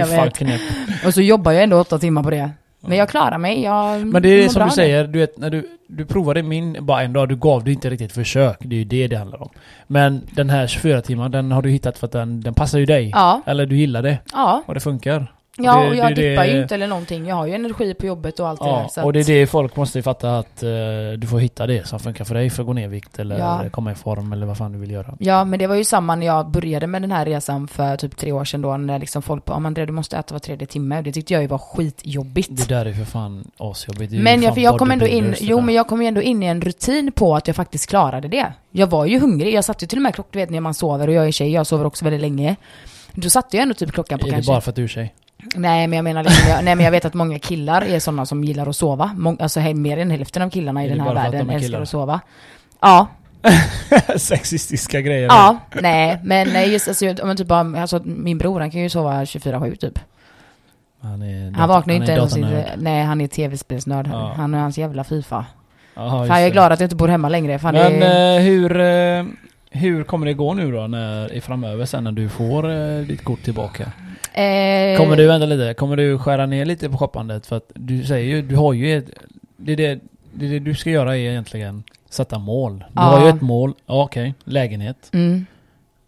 B: Jag
A: fan
B: vet. Mm,
A: knäpp.
B: så jobbar jag ändå åtta timmar på det. Men jag klarar mig. Jag
A: Men det är
B: mår
A: som
B: bra
A: du
B: nu.
A: säger, du vet när du, du provade min bara en dag, du gav det inte riktigt försök. Det är ju det det handlar om. Men den här 24 timmar den har du hittat för att den, den passar ju dig.
B: Ja,
A: Eller du gillar det
B: ja.
A: och det funkar.
B: Ja,
A: Det-
B: och jag
A: det- det-
B: dippar ju inte eller någonting. Jag har ju energi på jobbet och allt det där.
A: Ja,
B: Så
A: och det är
B: att-
A: det folk måste fatta att eh, du får hitta det som funkar för dig för att gå ner i vikt eller
B: Ja.
A: komma i form eller vad fan du vill göra.
B: Ja, men det var ju samma när jag började med den här resan för typ tre år sedan då, när liksom folk bara, "Ja, men Andrea du måste äta var tredje timme. Det tyckte jag ju var skitjobbigt.
A: Det där är för fan asjobbigt. Det är ju
B: Men
A: fan
B: jag, för jag kom ändå in,
A: bodybuilders, det
B: jo
A: där.
B: men jag kom ju ändå in i en rutin på att jag faktiskt klarade det. Jag var ju hungrig, jag satt ju till och med klockan, du vet när man sover och jag är tjej, jag sover också väldigt länge. Då satte jag ändå typ klockan på
A: Är det
B: kanske...
A: bara för att du är tjej?
B: Nej men jag menar liksom, jag, nej men jag vet att många killar är sådana som gillar att sova. Mång, alltså hej, mer än hälften av killarna i
A: Är det
B: den här
A: bara för att
B: världen
A: de är
B: älskar
A: killar?
B: att sova. Ja,
A: Sexistiska grejer.
B: Ja, nej, men eh, just alltså, om man typ bara, alltså, min bror han kan ju sova 24-7 typ.
A: Han, är
B: Han vaknar ju inte ens,
A: datornörd.
B: nej han är tv-spelsnörd.
A: Ja.
B: Han är hans jävla FIFA.
A: Jaha, just
B: fan jag är
A: det.
B: glad att jag inte bor hemma längre. Fan,
A: Men
B: det är,
A: eh, hur, eh, hur kommer det gå nu då när, i framöver sen när du får eh, ditt kort tillbaka?
B: eh,
A: Kommer du, vänta lite, kommer du skära ner lite på shoppandet? För att du säger ju, du har ju ett, det, är det, det, är det du ska göra är egentligen sätta mål. Du
B: Ja.
A: har ju ett mål, ja, okej, lägenhet,
B: Mm,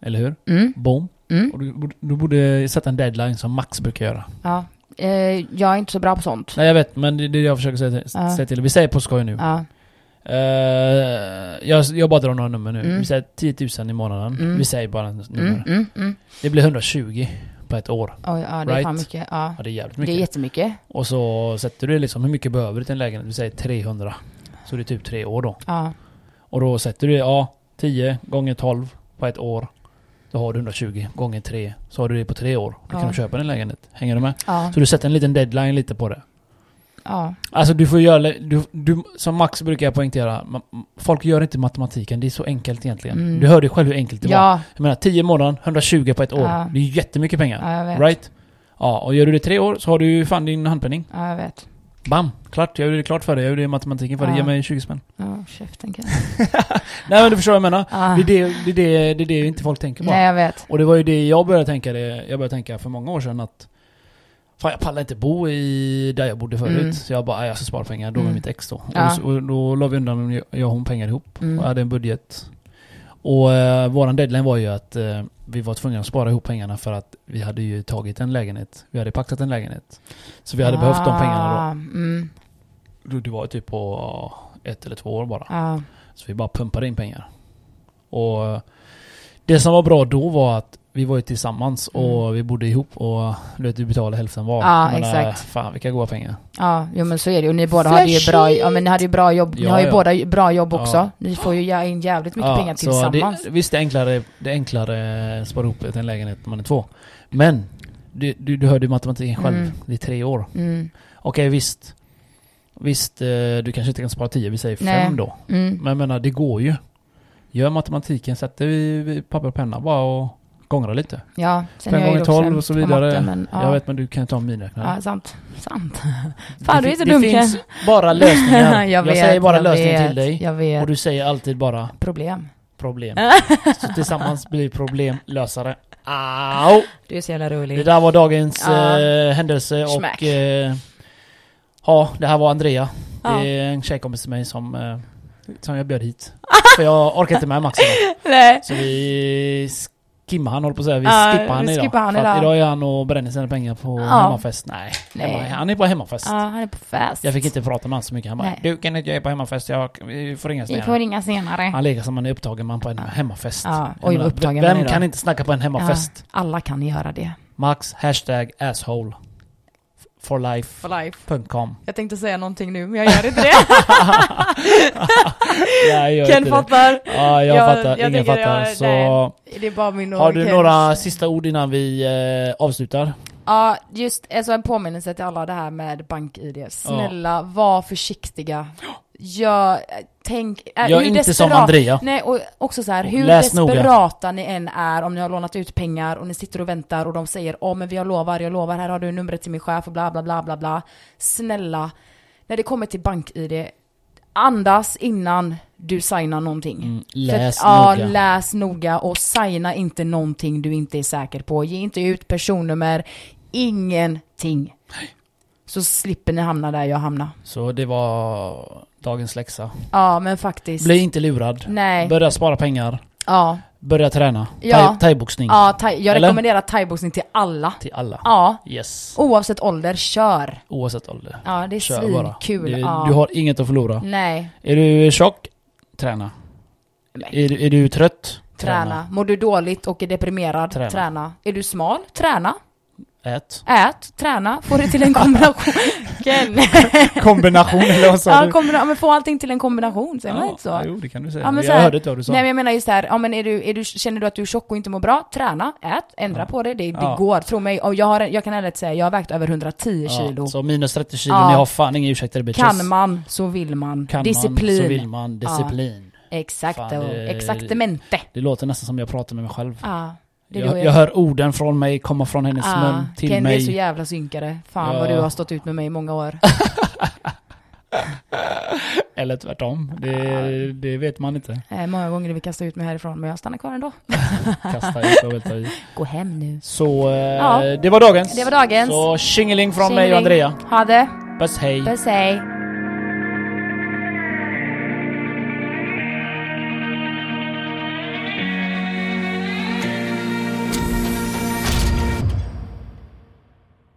A: eller hur?
B: mm,
A: Boom.
B: mm,
A: Och du, borde- du borde sätta en deadline som Max brukar göra.
B: ja. Eh, jag är inte så bra på sånt.
A: Nej jag vet, men det är det jag försöker säga,
B: Ja.
A: säga till Vi säger på skoj nu.
B: Ja,
A: Eh, jag, jag bara drar några nummer nu.
B: Mm.
A: Vi säger 10 000 i månaden.
B: Mm.
A: Vi säger bara en nummer.
B: mm, mm, mm.
A: Det blir 120 på ett år.
B: Oj, ja, det är
A: Right.
B: fan mycket. Ja.
A: Ja, det är jävligt
B: Det
A: mycket.
B: är jättemycket.
A: och så sätter du liksom hur mycket behöver du till en lägenhet? Vi säger 300. Så det är typ tre år då.
B: Ja,
A: Och då sätter du det, ja, 10 gånger 12 på ett år. Då har du 120 gånger 3. Så har du det på tre år. Då
B: Ja.
A: kan du köpa din lägenhet. Hänger du med?
B: ja,
A: Så du sätter en liten deadline lite på det.
B: ja.
A: Alltså du får göra, du, du, som Max brukar jag poängtera, ma- folk gör inte matematiken. Det är så enkelt egentligen.
B: Mm.
A: Du hörde ju själv hur enkelt det var.
B: Ja,
A: Jag menar 10 i månaden, 120 på ett år.
B: Ja.
A: Det är ju jättemycket pengar.
B: ja, jag vet.
A: Right? Ja, och gör du det tre år så har du ju fan din handpenning.
B: Ja, jag vet.
A: Bam! Klart, jag gjorde det klart för dig. Jag gjorde det i matematiken för dig.
B: Ja.
A: Ge mig 20 spänn.
B: Ja, käften kanske.
A: Nej men du förstår vad jag menar.
B: Ja.
A: Det är det, det, är det, det, är det inte folk tänker på.
B: Nej, jag vet.
A: Och det var ju det jag började tänka, det, jag började tänka för många år sedan att Fan jag pallar inte bo i där jag bodde förut.
B: Mm.
A: Så jag bara, "Nej, jag ska spara pengar. Då med
B: Mm.
A: mitt ex då.
B: Ja.
A: Och, så- och då la vi undan, jag och hon pengar ihop. och
B: Mm.
A: hade en budget. Och eh, våran deadline var ju att eh, vi var tvungna att spara ihop pengarna för att vi hade ju tagit en lägenhet. Vi hade paktat en lägenhet. Så vi hade behövt de pengarna
B: Ah, Mm,
A: då. Det var ju typ på ja, ett eller två år bara.
B: ja.
A: Så vi bara pumpade in pengar. Och eh, det som var bra då var att vi var ju tillsammans och vi bodde ihop och du vet, du betalade hälften var.
B: Mm. Ja,
A: Jag menar,
B: exakt.
A: Fan vilka goda pengar.
B: Ja, jo men så är det Och ni båda hade ju bra, ja, men ni hade ju bra jobb. Ni
A: Ja,
B: har ju
A: ja.
B: båda bra jobb
A: Ja.
B: också. Ni får ju jä- in jävligt mycket
A: Ja,
B: pengar
A: så
B: tillsammans.
A: Det, visst, det är enklare, det är enklare att spara ihop till en lägenhet när man är två. Men, du, du, du hörde ju matematiken själv.
B: Mm.
A: Det är tre år.
B: Mm,
A: Okej, visst. Visst, eh, du kanske inte kan spara tio, vi säger
B: Nej.
A: fem då.
B: mm,
A: Men jag menar, det går ju. Gör matematiken, sätter vi vi papper och penna bara och gångrar lite.
B: ja. Sen
A: Fem
B: är jag ju
A: gånger
B: också
A: tolv
B: en-
A: och så
B: på
A: vidare.
B: men, ja.
A: Jag vet, men du kan ju ta en miniräknare.
B: Ja, sant. Sant. Fan, du är
A: fi-
B: så dum,
A: Det
B: Ken.
A: finns bara lösningar. jag,
B: vet,
A: säger bara
B: jag
A: lösningen
B: vet,
A: till dig.
B: Jag vet.
A: Och du säger alltid bara
B: Problem.
A: problem. Så tillsammans blir problemlösare. Au!
B: Du är så jävla
A: Det
B: rolig.
A: där var dagens
B: Ja.
A: eh, händelse
B: Smack.
A: och... Eh, ja, det här var Andrea.
B: Ja.
A: Det är en tjejkompis till mig som, eh, som jag bjöd hit. För jag orkar inte med Max idag.
B: Nej.
A: Så vi skimmar han, håller på att säga. Vi
B: Ja,
A: skippar han
B: vi
A: idag.
B: skippar han
A: För att
B: idag.
A: idag är han och bränner sina pengar på
B: Ja.
A: hemmafest. Nej,
B: Nej.
A: Hemma, han är på hemmafest.
B: Ja, han är på fest.
A: Jag fick inte prata med honom så mycket. Han bara
B: Nej.
A: Du kan inte, jag är på hemmafest. Jag vi får ringa
B: Vi
A: senare.
B: får ringa senare.
A: Han leker som han är upptagen man på en
B: Ja.
A: hemmafest.
B: Ja,
A: Jag
B: oj,
A: menar,
B: vad upptagen man
A: vem
B: är då.
A: kan inte snacka på en hemmafest?
B: Ja, alla kan göra det.
A: Max, hashtag asshole. Forlife.com
B: life. Jag tänkte säga någonting nu, men jag gör inte det.
A: Nej, jag gör
B: Ken
A: inte det.
B: fattar.
A: Ja, jag,
B: Jag-
A: fattar.
B: jag
A: Ingen
B: tycker
A: fattar.
B: jag-
A: så
B: nej. Det är bara min och
A: har du
B: Kens-
A: några sista ord innan vi eh,
B: Äh,
A: avslutar?
B: Ja, just alltså en påminnelse till alla det här med bank-id. Snälla, var försiktiga. Gör, tänk, äh,
A: jag är
B: hur
A: inte som
B: desperat-
A: Andrea.
B: Nej, och också så här, hur
A: Läs noga.
B: desperata ni än är om ni har lånat ut pengar och ni sitter och väntar och de säger åh men vi har lovar, jag lovar, här har du numret till min chef och bla bla bla bla bla. Snälla, när det kommer till bank-id, andas innan du signar någonting.
A: Mm,
B: För
A: läs
B: att- ja,
A: noga.
B: läs noga och signa inte någonting du inte är säker på. Ge inte ut personnummer, ingenting. Så slipper ni hamna där jag hamnar.
A: Så det var dagens läxa.
B: Ja, men faktiskt.
A: Bli inte lurad.
B: Nej.
A: Börja spara pengar.
B: Ja.
A: Börja träna.
B: Ja.
A: Thai- Thaiboxning.
B: ja thai- jag
A: Eller?
B: rekommenderar thaiboxning till alla.
A: Till alla.
B: Ja.
A: Yes.
B: Oavsett ålder, kör.
A: Oavsett ålder.
B: Ja, det är
A: Kör bara.
B: svinkul.
A: Du,
B: ja.
A: du har inget att förlora.
B: Nej.
A: Är du tjock? Träna.
B: Nej.
A: Är, du- är du trött?
B: Träna. Mår du dåligt och är deprimerad?
A: Träna.
B: Träna. Är du smal? Träna.
A: Ät.
B: Ät. Träna. Få det till en kombination. Ken.
A: Kombination eller vad sa
B: ja,
A: du?
B: kombina- ja, men få allting till en kombination, säger man inte så?
A: Jo, det kan du säga.
B: Ja, men så
A: jag
B: här-
A: hörde inte vad du sa.
B: Nej men jag menar just det här, ja, men är du, är du, känner du att du är tjock och inte mår bra? Träna, ät, ändra på det. Det, det
A: Ja.
B: går, tro mig. Och jag, har, en- jag kan ärligt säga, jag har vägt över 110 kilo.
A: Ja, så minus 30 kilo,
B: Ja.
A: ni har fan ingen ursäkter bitches.
B: Kan man så vill man.
A: Kan
B: Disciplin.
A: man så vill man. Disciplin.
B: Exakt,
A: Fan,
B: och
A: det-
B: exaktamente.
A: Det låter nästan som jag pratar med mig själv.
B: Ja, det är då
A: jag, jag hör orden från mig komma från hennes mun till
B: Ken,
A: mig.
B: du är så jävla synkare. Fan vad
A: Ja.
B: du har stått ut med mig i många år.
A: Eller tvärtom. Det,
B: Ah.
A: det vet man inte.
B: Eh, många gånger vill vi kasta ut mig härifrån, men jag stannar kvar ändå.
A: Kasta ut och välta i.
B: Gå hem nu.
A: Så eh,
B: Ja.
A: det var dagens.
B: Det var dagens.
A: Så tjingeling från mig och
B: Tjingeling.
A: Andrea.
B: Ha det.
A: Puss hej.
B: Puss hej.